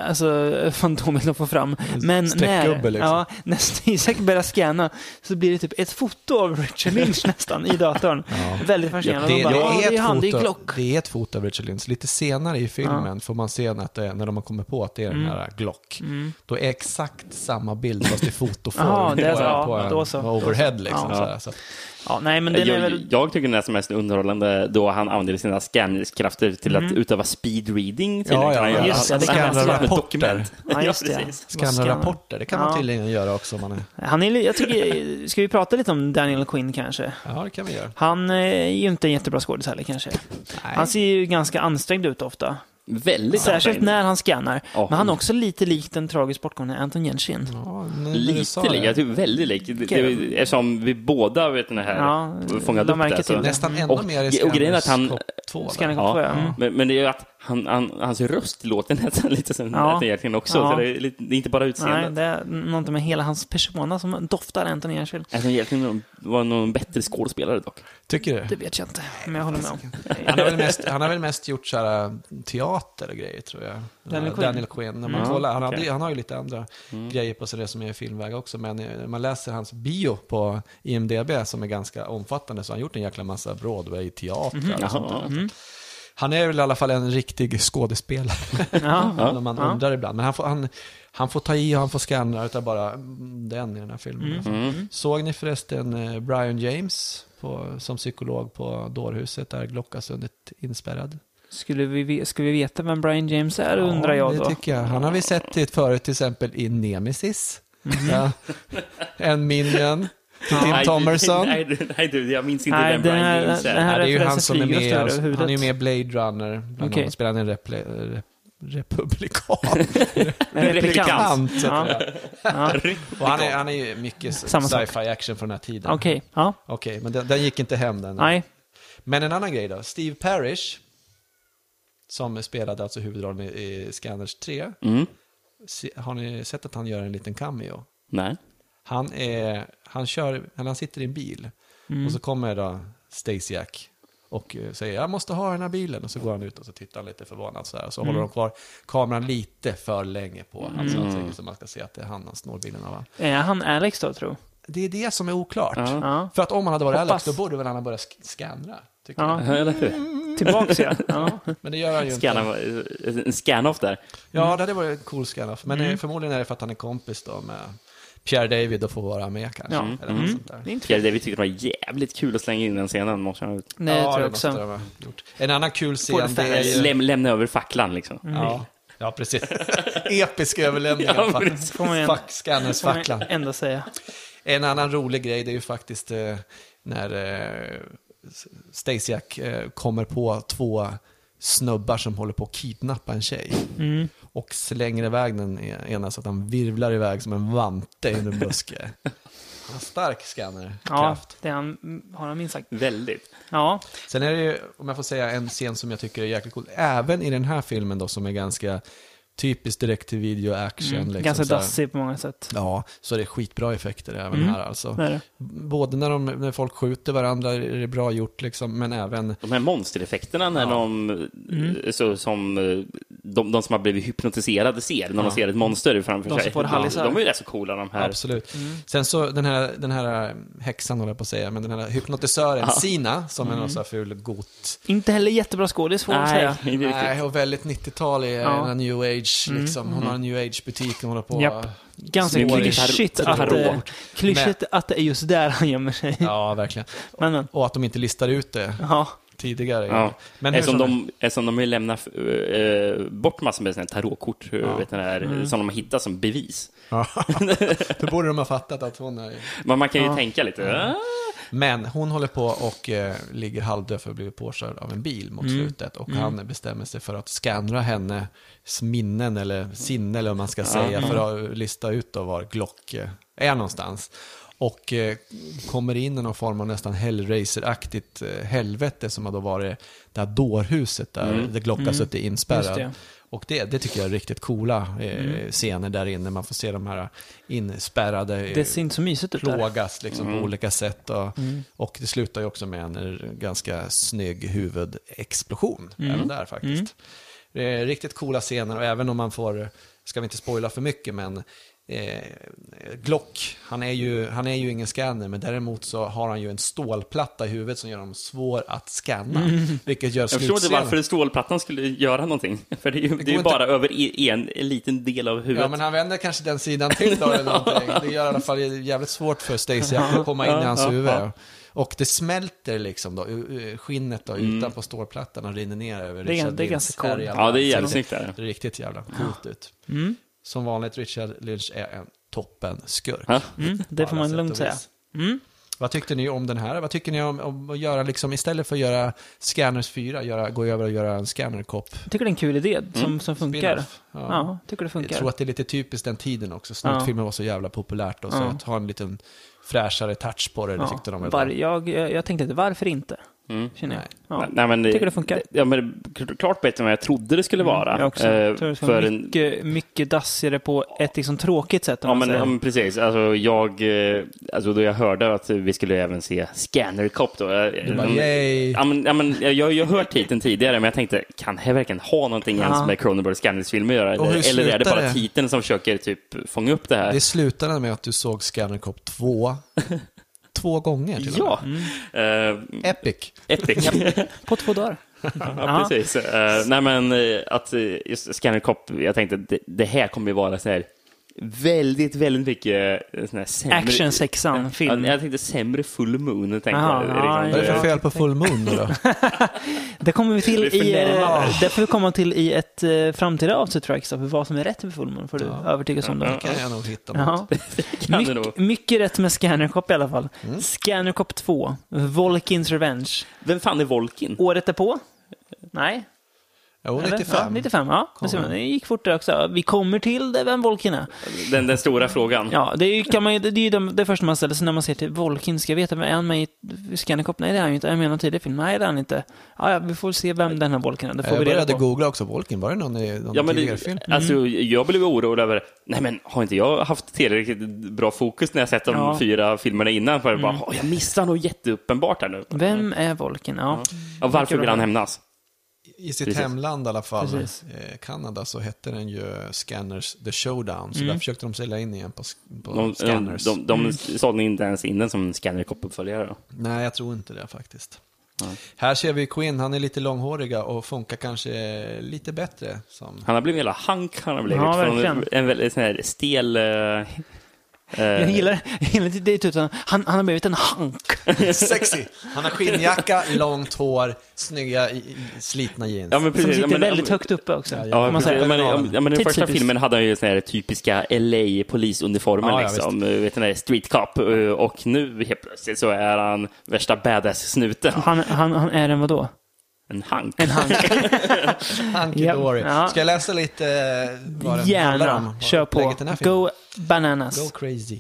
Speaker 2: Alltså fantombild att få fram. Men när,
Speaker 3: streckgubbe, liksom.
Speaker 2: ja, när Stisak börjar scanna så blir det typ ett foto av Richard Lynch nästan i datorn. Väldigt fascinerande.
Speaker 3: Det,
Speaker 2: De bara,
Speaker 3: det,
Speaker 2: "Ja,
Speaker 3: är
Speaker 2: det är han, det är
Speaker 3: ett
Speaker 2: Glock.
Speaker 3: foto, det är ett foto av Richard Lynch. Lite senare i filmen får man se att det, när de har kommit på att det är
Speaker 2: Mm.
Speaker 3: den här Glock. Då är exakt samma bild fast i fotoform
Speaker 2: Ja, det är så.
Speaker 3: på, en-
Speaker 2: Ja,
Speaker 3: på en
Speaker 2: då så.
Speaker 3: overhead. Liksom,
Speaker 2: Ja.
Speaker 3: så här, så. att-
Speaker 2: Ja, nej, men den är
Speaker 1: Jag,
Speaker 2: väl...
Speaker 1: jag tycker den är som mest underhållande då han använder sina scannerskrafter till
Speaker 2: Mm.
Speaker 1: att utöva speed reading. tydligen.
Speaker 3: Ja, ja,
Speaker 1: Han gör-
Speaker 2: just det,
Speaker 1: han-
Speaker 2: det
Speaker 1: han
Speaker 2: kan
Speaker 1: läser
Speaker 2: vara
Speaker 1: ett
Speaker 3: rapporter.
Speaker 1: dokument.
Speaker 2: Ja, just det.
Speaker 1: precis.
Speaker 3: Skanna rapporter, det kan
Speaker 2: Ja.
Speaker 3: man tydligen göra också om man är...
Speaker 2: Han är, li- jag tycker, ska vi prata lite om Daniel Quinn kanske?
Speaker 3: Ja, det kan vi göra.
Speaker 2: Han eh, är ju inte en jättebra skådis heller kanske. Han ser ju ganska ansträngd ut ofta.
Speaker 1: Väldigt
Speaker 2: Särskilt
Speaker 1: ansträngd.
Speaker 2: när han scannar.
Speaker 1: Ja.
Speaker 2: Men han är också lite lik den tragiskt bortgångne Anton Jensen.
Speaker 3: Ja, nu- när du sa
Speaker 1: Lite
Speaker 3: det.
Speaker 1: lik, jag tycker väldigt lik. Det-
Speaker 2: Okej.
Speaker 1: det- Eftersom vi båda vet den här
Speaker 2: Ja,
Speaker 1: fångade
Speaker 2: de
Speaker 1: upp
Speaker 2: märker
Speaker 1: det.
Speaker 2: till
Speaker 1: så-
Speaker 2: det.
Speaker 3: Nästan ännu
Speaker 1: Och-
Speaker 3: mer i
Speaker 1: och grejen är att han-
Speaker 3: Scanners topp två, va?
Speaker 2: Scanner
Speaker 1: Ja,
Speaker 2: Cop, ja. Mm.
Speaker 1: Men, men det är ju att han, han, hans röst låter nästan lite som
Speaker 2: Ja.
Speaker 1: Nathan Jerkin också.
Speaker 2: Ja.
Speaker 1: Så det, är lite, det är inte bara
Speaker 2: Nej,
Speaker 1: utseendet.
Speaker 2: det är något med hela hans persona som doftar Anton Jensen.
Speaker 1: Nathan Jerkin Alltså, var någon bättre skådespelare dock.
Speaker 3: Tycker du?
Speaker 2: Det vet jag inte, men jag håller med om.
Speaker 3: Han har, väl mest, han har väl mest gjort så här äh, teater och grejer tror jag.
Speaker 2: Daniel
Speaker 3: Ja,
Speaker 2: Quinn.
Speaker 3: Daniel Quinn. När man
Speaker 1: Mm.
Speaker 3: kollar, han, hade,
Speaker 1: Okej. Mm.
Speaker 3: han har ju lite andra grejer på sig, det som är filmväg också. Men eh, när man läser hans bio på IMDB som är ganska omfattande så har han gjort en jäkla massa Broadway-teater. och sånt där.
Speaker 1: Mhm. Jaha.
Speaker 2: Mm.
Speaker 3: Han är väl i alla fall en riktig skådespelare.
Speaker 2: Ja.
Speaker 3: Även om man undrar ibland. Men han får, han, han får ta i och han får scanna utav bara mm, den i den här filmen. Såg ni förresten eh, Brian James på, som psykolog på dårhuset där Glockasundet inspärrad?
Speaker 2: Skulle, vi, ve- skulle vi veta vem Brian James är, undrar jag
Speaker 3: det
Speaker 2: då.
Speaker 3: tycker jag. Han har vi sett till- förut till exempel i Nemesis.
Speaker 2: Mm.
Speaker 3: Ja. En Minion. Till Tim
Speaker 1: Nej,
Speaker 3: Thomerson.
Speaker 1: Nej, du- nej, du, jag minns inte
Speaker 2: Nej,
Speaker 1: vem
Speaker 2: den
Speaker 1: Brian
Speaker 2: här-
Speaker 1: James
Speaker 2: den
Speaker 1: är.
Speaker 2: här-
Speaker 3: Ja, det är ju han
Speaker 2: referensen
Speaker 3: som är
Speaker 2: flyger
Speaker 3: med,
Speaker 2: över
Speaker 3: alltså,
Speaker 2: huvudet.
Speaker 3: han är ju med i Blade Runner, bland
Speaker 2: Okej.
Speaker 3: annat, spelar han en reple, re, republikan.
Speaker 2: En replikant.
Speaker 3: Kant, heter
Speaker 2: Ja.
Speaker 3: det.
Speaker 2: Ja.
Speaker 3: Och han är, han är ju mycket
Speaker 2: Samma sak.
Speaker 3: sci-fi action från den här tiden.
Speaker 2: Okej, ja.
Speaker 3: Okej, men den, den gick inte hem den.
Speaker 2: Nej.
Speaker 3: Men en annan grej då, Steve Parrish, som spelade alltså huvudrollen i, i Scanners 3,
Speaker 1: Mm.
Speaker 3: se- har ni sett att han gör en liten cameo?
Speaker 1: Nej.
Speaker 3: Han,
Speaker 2: Mm.
Speaker 3: är, han, kör, eller han sitter i en bil och så kommer då Stasiak och eh, säger jag måste ha den här bilen. Och så går han ut och så tittar han lite förvånad så här. Och
Speaker 2: Mm.
Speaker 3: så håller de kvar kameran lite för länge på hans
Speaker 2: Mm.
Speaker 3: ansikte så man ska se att det är han han snor bilen av. va?
Speaker 2: Är han Alex då, tror
Speaker 3: Det är det som är oklart.
Speaker 2: Ja.
Speaker 3: För att om han hade varit Alex
Speaker 2: Hoppas.
Speaker 3: då borde väl han ha börjat sk- skannra. tycker jag.
Speaker 2: Ja,
Speaker 1: Eller hur?
Speaker 2: tillbaks ja. ja.
Speaker 3: Men det gör han ju inte.
Speaker 1: Scanna, en scan-off där.
Speaker 3: Ja, det hade varit en cool scan-off. Men
Speaker 2: Mm.
Speaker 3: eh, förmodligen är det för att han är kompis då med Pierre David och får vara med kanske.
Speaker 2: Ja. Mm.
Speaker 3: Eller något sånt där.
Speaker 2: Det är inte
Speaker 1: Pierre David tyckte det var jävligt kul att slänga in den scenen. Måste han
Speaker 2: Nej, det
Speaker 3: ja,
Speaker 2: tror jag
Speaker 3: måste
Speaker 2: också.
Speaker 3: de ha gjort. En annan kul
Speaker 2: Får
Speaker 3: scen,
Speaker 2: det
Speaker 3: det är ju...
Speaker 1: Läm, lämna över facklan liksom.
Speaker 3: Ja, ja, precis. Episk överlämning.
Speaker 1: Ja,
Speaker 3: av fack-
Speaker 1: precis.
Speaker 2: Kom igen.
Speaker 3: Fack, scannersfacklan.
Speaker 2: Får man Ändå säga.
Speaker 3: En annan rolig grej, det är ju faktiskt eh, när eh, Stasiak eh, kommer på två snubbar som håller på att kidnappa en tjej.
Speaker 2: Mm.
Speaker 3: Och slänger iväg den e-, ena så att han virvlar iväg som en vante i en buske. Han har stark
Speaker 2: Ja,
Speaker 3: scannerkraft.
Speaker 2: det han, har han minst sagt.
Speaker 1: Väldigt.
Speaker 2: Ja,
Speaker 3: Sen är det ju, om jag får säga, en scen som jag tycker är jäkligt cool. Även i den här filmen då, som är ganska typiskt direkt till video action. liksom,
Speaker 2: mm. ganska
Speaker 3: så här.
Speaker 2: dassig på många sätt.
Speaker 3: Ja, så det är skitbra effekter även här alltså.
Speaker 2: Det är det.
Speaker 3: Både när, de, när folk skjuter varandra är det bra gjort, liksom, men även...
Speaker 1: De här monstereffekterna när de, eh, så, som eh, de, de som har blivit hypnotiserade ser, när de ser ett monster framför
Speaker 2: De som
Speaker 1: sig.
Speaker 2: får hallisar.
Speaker 1: de är ju rätt så coola de här.
Speaker 3: Absolut.
Speaker 2: Mm.
Speaker 3: Sen så den här, den här eh, häxan, håller jag på att säga, men den här hypnotisören Sina, som
Speaker 1: Mm.
Speaker 3: är någon så här ful got.
Speaker 2: Inte heller jättebra skådis får man
Speaker 1: Nej,
Speaker 2: säga.
Speaker 1: inte riktigt.
Speaker 3: Nej, och väldigt 90-talig,
Speaker 2: Ja. Mm.
Speaker 3: den här new age, liksom. Hon har en new age-butik, hon håller på...
Speaker 2: Japp. Ganska
Speaker 1: Snygg
Speaker 2: klyschigt
Speaker 1: gitarr-
Speaker 2: att, eh,
Speaker 1: tarot.
Speaker 2: klyschigt att det är just där han gömmer sig.
Speaker 3: Ja, verkligen.
Speaker 2: Men, men,
Speaker 3: Och att de inte listar ut det
Speaker 2: ja.
Speaker 3: tidigare.
Speaker 1: Ja.
Speaker 3: Men hur
Speaker 1: eftersom,
Speaker 3: som-
Speaker 1: de, eftersom de vill lämna eh, bort massor med såna här tarotkort eh, vet, ni, där, som de har hittat som bevis.
Speaker 3: Då borde de ha fattat att hon är...
Speaker 1: Men man kan ju tänka lite. "Ah,
Speaker 3: Men hon håller på och eh, ligger halvdöd för att bli påkörd av en bil mot
Speaker 2: Mm.
Speaker 3: slutet. Och han bestämmer sig för att skannra hennes minnen eller sinne eller vad man ska säga.
Speaker 2: Mm.
Speaker 3: För att lista ut då var Glock eh, är någonstans. Och eh, kommer in i någon form av nästan Hellraiser-aktigt eh, helvete som har då varit det här dårhuset där The Glock har suttit
Speaker 2: Mm. Just
Speaker 3: inspärrad.
Speaker 2: det. Mm.
Speaker 3: Och det, det tycker jag är riktigt coola eh, scener där inne. Man får se de här inspärrade... eh,
Speaker 2: Det ser inte så mysigt ut där.
Speaker 3: plågas liksom,
Speaker 1: Mm.
Speaker 3: på olika sätt. Och, och det slutar ju också med en ganska snygg huvudexplosion. Även där faktiskt. Det är riktigt coola scener och även om man får, ska vi inte spoila för mycket, men Eh, Glock, han är, ju, han är ju ingen scanner, men däremot så har han ju en stålplatta i huvudet som gör honom svår att scanna. Vilket gör
Speaker 1: Jag förstår inte
Speaker 3: slutscenen...
Speaker 1: varför stålplattan skulle göra någonting. För det är ju, det är ju
Speaker 3: inte-
Speaker 1: bara över i- en, en liten del av huvudet.
Speaker 3: Ja, men han vänder kanske den sidan till då eller någonting. Det gör i alla fall jävligt svårt för Stacey att komma in i hans huvud. Och det smälter liksom då, u- u- skinnet då, utanpå stålplattan och rinner ner över
Speaker 2: Det är-
Speaker 3: Richard
Speaker 2: det är
Speaker 3: Lynchs
Speaker 2: ganska coolt.
Speaker 3: ärriga
Speaker 1: Mm. Ja, det är
Speaker 3: ansikte.
Speaker 1: jävligt snyggt där.
Speaker 3: Det är Riktigt jävla coolt ut.
Speaker 2: Mm,
Speaker 3: Som vanligt, Richard Lynch är en toppen skurk.
Speaker 1: Ja.
Speaker 2: Mm, det får man lugnt säga. Mm.
Speaker 3: Vad tyckte ni om den här? Vad tycker ni om, om att göra, liksom, istället för att göra Scanners 4, göra, gå över och göra en scannerkopp?
Speaker 2: Jag tycker det är en kul idé som, som funkar.
Speaker 3: Mm. Spin-off.
Speaker 2: Ja.
Speaker 3: Ja.
Speaker 2: tycker det
Speaker 3: Jag tror
Speaker 2: funkar.
Speaker 3: att det är lite typiskt den tiden också. Snutfilmer var så jävla populärt då, så
Speaker 2: Ja.
Speaker 3: att ha en liten fräschare touch på det, det tyckte de
Speaker 2: Ja.
Speaker 3: väl.
Speaker 2: Var, jag, jag jag tänkte inte, varför inte? Känner jag.
Speaker 3: Nej.
Speaker 2: Ja.
Speaker 1: Mm. Nej, men det,
Speaker 2: Tycker det funkar.
Speaker 1: Ja, men klart bättre än vad jag trodde det skulle vara.
Speaker 2: Jag också.
Speaker 1: Eh,
Speaker 2: Jag tror det ska
Speaker 1: för
Speaker 2: vara
Speaker 1: en,
Speaker 2: mycket, mycket dassigare på ett liksom tråkigt sätt. om
Speaker 1: ja,
Speaker 2: man
Speaker 1: men,
Speaker 2: säger.
Speaker 1: ja, men precis. Alltså, jag, eh, alltså, då jag hörde att vi skulle även se Scanner Cop då. Jag,
Speaker 3: bara, "Yay."
Speaker 1: ja, men, ja, men, jag, jag har ju hört titeln tidigare, men jag tänkte, kan det verkligen ha någonting ens med Cronenbergs Scanners film att göra?
Speaker 3: Och hur
Speaker 1: Eller, eller är det
Speaker 3: slutar
Speaker 1: bara
Speaker 3: det?
Speaker 1: titeln som försöker typ fånga upp det här?
Speaker 3: Det slutade med att du såg Scanner Cop 2, två gånger till och
Speaker 1: ja. Eh,
Speaker 3: med. Epic.
Speaker 1: Epic.
Speaker 2: På två dagar.
Speaker 1: Ja, precis. Eh, nej, men eh, att eh, just Scanner Cop, jag tänkte att det, det här kommer ju vara så här väldigt, väldigt mycket eh, sån här sämre...
Speaker 2: Action-sexan, film.
Speaker 1: Ja, jag tänkte sämre Full Moon. Tänkte
Speaker 2: Jaha,
Speaker 1: jag.
Speaker 2: ja,
Speaker 3: Vad är det för
Speaker 1: eh,
Speaker 3: fel på Full Moon nu då?
Speaker 2: Det kommer vi till
Speaker 1: Vi får
Speaker 2: i,
Speaker 1: närma
Speaker 2: eh, det får vi komma till i ett eh, framtida avsnitt tror jag, Kristoffer. Vad som är rätt med fullmåne får du övertygas om. Då.
Speaker 3: kan jag nog hitta något.
Speaker 2: Ja.
Speaker 1: kan det nog. Mm.
Speaker 2: Mycket, mycket rätt med Scannercop i alla fall. Scannercop 2, Volkins Revenge.
Speaker 1: Vem fan är Volkin?
Speaker 2: Året därpå? Nej.
Speaker 3: Jo, Eh,
Speaker 2: Eller?
Speaker 3: 95.
Speaker 2: Ja, 95, ja. Det ser man. Det gick fort där också. Vi kommer till det, vem Volkin är.
Speaker 1: Den, den stora frågan.
Speaker 2: Ja, det är ju, kan man, ju- det, är ju det, det första man ställer sig när man ser till Volkin. Ska jag veta, men är han med i Scanicop? Nej, det är han ju inte. Är han med i någon tidigare film? Nej, det är han inte. Ja, ja, vi får se vem den här Volkin är. Det får
Speaker 3: Jag
Speaker 2: vi reda
Speaker 3: började
Speaker 2: på.
Speaker 3: googla också, Volkin, var det någon i någon
Speaker 1: Ja, men
Speaker 3: tidigare
Speaker 1: det,
Speaker 3: film?
Speaker 1: alltså,
Speaker 2: Mm.
Speaker 1: jag blev orolig över, nej men har inte jag haft tillräckligt bra fokus när jag sett de
Speaker 2: Ja. Mm.
Speaker 1: fyra filmerna innan? För jag bara, "Åh, jag missar något jätteuppenbart här nu.
Speaker 2: Vem är Volkin? Ja.
Speaker 1: Ja, varför vill han hämnas?
Speaker 3: I sitt
Speaker 1: Precis.
Speaker 3: hemland i alla fall,
Speaker 2: Precis.
Speaker 3: eh, Kanada, så hette den ju Scanners The Showdown.
Speaker 2: Mm.
Speaker 3: Så där försökte de sälja in igen på, sk- på
Speaker 1: De, de,
Speaker 3: Scanners. Mm.
Speaker 1: de, de sålde inte ens in den som Scanner-koppuppföljare. då.
Speaker 3: Nej, jag tror inte det faktiskt. Här ser vi Quinn, han är lite långhåriga och funkar kanske lite bättre. Som...
Speaker 1: Han har blivit en jävla hank, han har blivit.
Speaker 2: Ja,
Speaker 1: från
Speaker 2: verkligen.
Speaker 1: en väldigt sån här stel... eh, eh,
Speaker 2: Jag gillar, jag gillar inte det utan han, han har blivit en hank.
Speaker 3: Sexy! Han har skinnjacka, långt hår, snygga i- i- slitna jeans.
Speaker 1: ja, men
Speaker 2: Som
Speaker 1: precis. Ja,
Speaker 2: sitter
Speaker 1: men-
Speaker 2: väldigt högt uppe också.
Speaker 3: Ja,
Speaker 1: Ja,
Speaker 2: om man
Speaker 1: precis.
Speaker 2: säger.
Speaker 1: ja, men, ja, ja, men den första
Speaker 2: Tidstypiskt.
Speaker 1: filmen hade han ju sån här typiska LA-polisuniformen,
Speaker 3: Ja, ja,
Speaker 1: liksom. Eh, Vet, den här street cop. Eh, Och nu helt plötsligt så är han värsta badass-snuten.
Speaker 2: Han, han, han är en vadå?
Speaker 1: En hank.
Speaker 2: En hank.
Speaker 3: Hunky
Speaker 2: Ja.
Speaker 3: Dory.
Speaker 2: Ja.
Speaker 3: Ska jag läsa lite eh, vad den handlar om?
Speaker 2: Gärna.
Speaker 3: Vad
Speaker 2: Kör på.
Speaker 3: upplägget i den här filmen?
Speaker 2: Go bananas.
Speaker 3: Go crazy.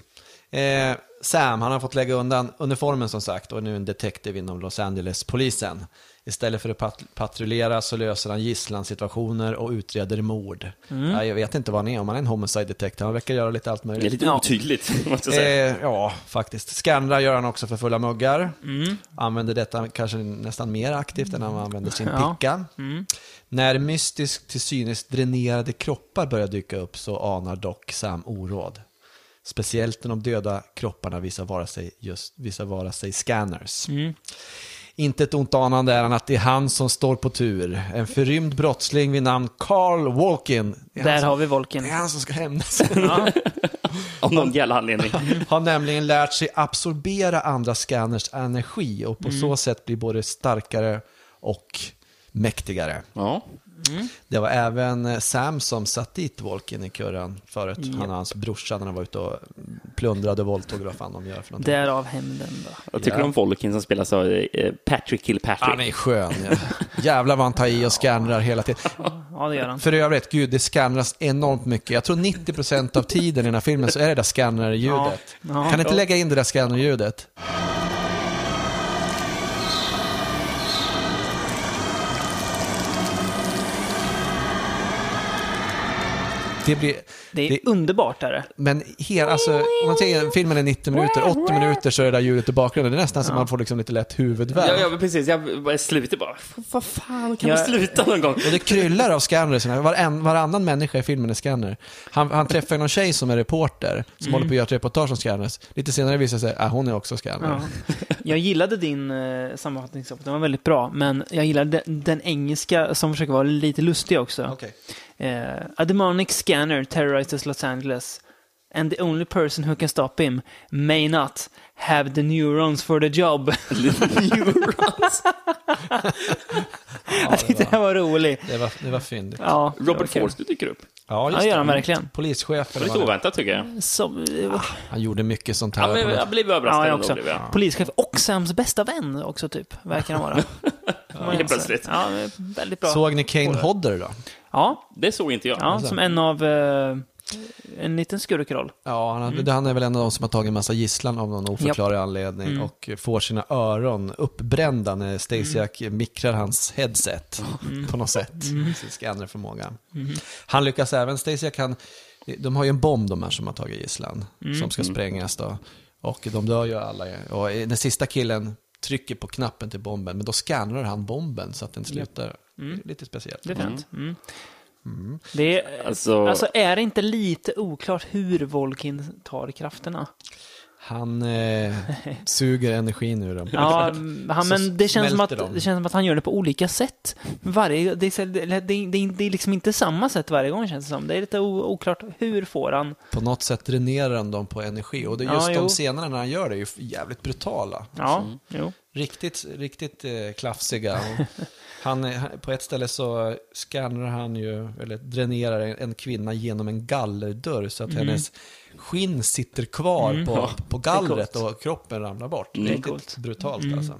Speaker 3: Eh, Sam, han har fått lägga undan uniformen som sagt och är nu en detektiv inom Los Angeles-polisen. Istället för att pat- patrullera så löser han gisslansituationer och utreder mord. Ja, jag vet inte vad han är, om han är en homicide detective. Han verkar göra lite allt
Speaker 1: Det är
Speaker 3: möjligt.
Speaker 1: lite
Speaker 2: Ja.
Speaker 1: otydligt, måste jag säga.
Speaker 3: Eh, ja, faktiskt. Skannrar gör han också för fulla muggar.
Speaker 2: Mm.
Speaker 3: Använder detta kanske nästan mer aktivt än han använder sin
Speaker 2: Ja. Mm.
Speaker 3: picka. När mystiskt till synes dränerade kroppar börjar dyka upp så anar dock Sam oråd. Speciellt när de döda kropparna visar vara sig, just, visar vara sig scanners.
Speaker 2: Mm.
Speaker 3: Inte ett ont anande är han att det är han som står på tur. En förrymd brottsling vid namn Carl Walken. Det är han
Speaker 2: Där
Speaker 3: som-
Speaker 2: har vi Volkin.
Speaker 3: Det är han som ska hämnas.
Speaker 1: Av någon jävla anledning.
Speaker 3: har nämligen lärt sig absorbera andra scanners energi och på så sätt blir både starkare och mäktigare.
Speaker 1: Ja.
Speaker 3: Det var även eh, Sam som satt dit Volkin i kurran förut. Han och hans brorsa när han var ute och plundrade och våldtog eller vad fan de gör för någonting.
Speaker 2: Därav hämnden då.
Speaker 1: Vad tycker du om Volkin som spelas av eh, Patrick
Speaker 3: Han
Speaker 1: Kilpatrick?
Speaker 3: är skön. Ja. Jävlar vad han tar i och skannrar hela tiden.
Speaker 2: Ja, det gör han.
Speaker 3: För övrigt, gud, det skannras enormt mycket. Jag tror 90% av tiden i den här filmen så är det där skannerljudet.
Speaker 2: Ja. Ja.
Speaker 3: Kan inte lägga in det där skannerljudet? Det blir,
Speaker 2: Det är
Speaker 3: det-
Speaker 2: underbart är det.
Speaker 3: men hela, alltså, om man säger filmen är 90 minuter, 80 minuter så är det där ljudet i bakgrunden. Det är nästan så man får liksom lite lätt huvudvärk.
Speaker 1: Ja, ja, men precis. Jag bara slutar bara. Vad fan, kan
Speaker 2: Jag-
Speaker 1: man sluta någon gång?
Speaker 3: Och det kryllar av scanners. Varann, varannan människa i filmen är scanner. Han, han träffar någon tjej som är reporter,
Speaker 2: Mm.
Speaker 3: som håller på att göra ett reportage om scanners. Lite senare visar det sig att ah, hon är också scanner.
Speaker 2: Ja. Jag gillade din eh, sammanfattning, Sop. den var väldigt bra. Men jag gillade den, den engelska som försöker vara lite lustig också.
Speaker 3: Okej.
Speaker 2: Eh, a demonic scanner terrorizes Los Angeles. And the only person who can stop him may not have the neurons for the job. neurons? jag tyckte det här var rolig.
Speaker 3: Det var, det var fyndigt.
Speaker 2: Ja, det var
Speaker 1: Robert
Speaker 2: kul.
Speaker 1: Forster dyker upp.
Speaker 2: Ja, det gör han verkligen.
Speaker 1: Det
Speaker 3: Polischefen.
Speaker 1: var lite
Speaker 3: var det.
Speaker 1: oväntat, tycker jag.
Speaker 2: Som, eh,
Speaker 3: Han gjorde mycket sånt
Speaker 1: Ja,
Speaker 3: här.
Speaker 1: men jag blev överraskad
Speaker 2: ja, jag
Speaker 1: ändå,
Speaker 2: också.
Speaker 1: blev jag.
Speaker 2: Polischef och Sams bästa vän också, typ. Verkar han vara. ja,
Speaker 1: helt plötsligt.
Speaker 2: Ja, väldigt bra.
Speaker 3: Såg ni Kane Hodder då?
Speaker 2: Ja,
Speaker 1: Det såg inte jag.
Speaker 2: ja som en av... eh, en liten skurkroll.
Speaker 3: Ja, han, han är väl en av de som har tagit en massa gisslan av någon oförklarlig anledning och får sina öron uppbrända när Stasiak mikrar hans headset på något sätt. Sin scannerförmåga. Han lyckas även, Stasiak han, de har ju en bomb de här som har tagit gisslan, som ska sprängas då. Och de dör ju alla. Och den sista killen trycker på knappen till bomben, men då scannar han bomben så att den slutar. Lite speciellt.
Speaker 2: Det är fint. Mm.
Speaker 3: Mm.
Speaker 2: Det är,
Speaker 1: Alltså-
Speaker 2: alltså, är det inte lite oklart hur Volkin tar krafterna?
Speaker 3: Han eh, suger energin ur dem.
Speaker 2: Ja, mm, han,
Speaker 3: Så
Speaker 2: men det känns, som att,
Speaker 3: smälter de.
Speaker 2: det känns som att han gör det på olika sätt. Varje, det, är, så- det, det, det, det är liksom inte samma sätt varje gång känns det som. Det är lite o, oklart hur får han...
Speaker 3: på något sätt dränerar han dem på energi. Och det är
Speaker 2: Ja,
Speaker 3: just
Speaker 2: jo.
Speaker 3: de scenerna när han gör det är ju jävligt brutala.
Speaker 2: Ja, jo.
Speaker 3: Riktigt, riktigt eh, klafsiga. Och han, är- han- på ett ställe så skannar han ju, eller dränerar en, en kvinna genom en gallerdörr så att
Speaker 2: Mm.
Speaker 3: hennes skinn sitter kvar på, på gallret och kroppen ramlar bort.
Speaker 2: är
Speaker 3: Riktigt
Speaker 2: coolt. Mm.
Speaker 3: brutalt alltså.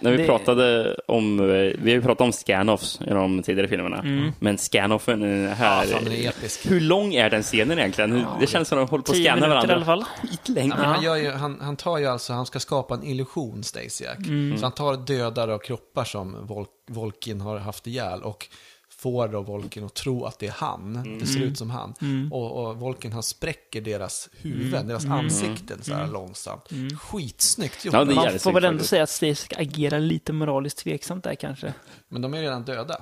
Speaker 1: När vi
Speaker 2: Det-
Speaker 1: pratade om, eh, vi har ju pratat om scanoffs i de tidigare filmerna,
Speaker 2: Mm.
Speaker 1: men scanoffen är här,
Speaker 3: Ja, fan, den är episk.
Speaker 1: hur lång är den scenen egentligen? Hur- det känns som att de håller på att
Speaker 2: Tio
Speaker 1: scanna
Speaker 2: minuter
Speaker 1: varandra.
Speaker 2: i alla fall.
Speaker 1: Skitlänge.
Speaker 3: Men han, gör ju, han, han tar ju alltså, han ska skapa en illusion, Stasiak.
Speaker 2: Mm.
Speaker 3: Så han tar dödar och kroppar som Vol Volkin har haft ihjäl och får då Volkin att tro att det är han,
Speaker 2: Mm.
Speaker 3: det ser ut som han. Och, och Volkin han spräcker deras huvuden,
Speaker 2: Mm.
Speaker 3: deras ansikten så här långsamt. Skitsnyggt gjort.
Speaker 1: Ja, det är
Speaker 2: Man
Speaker 1: jävligt
Speaker 2: får väl
Speaker 1: snyggt
Speaker 2: ändå
Speaker 1: faktiskt.
Speaker 2: säga att Stasiak agerar lite moraliskt tveksamt där kanske.
Speaker 3: Men de är ju redan döda.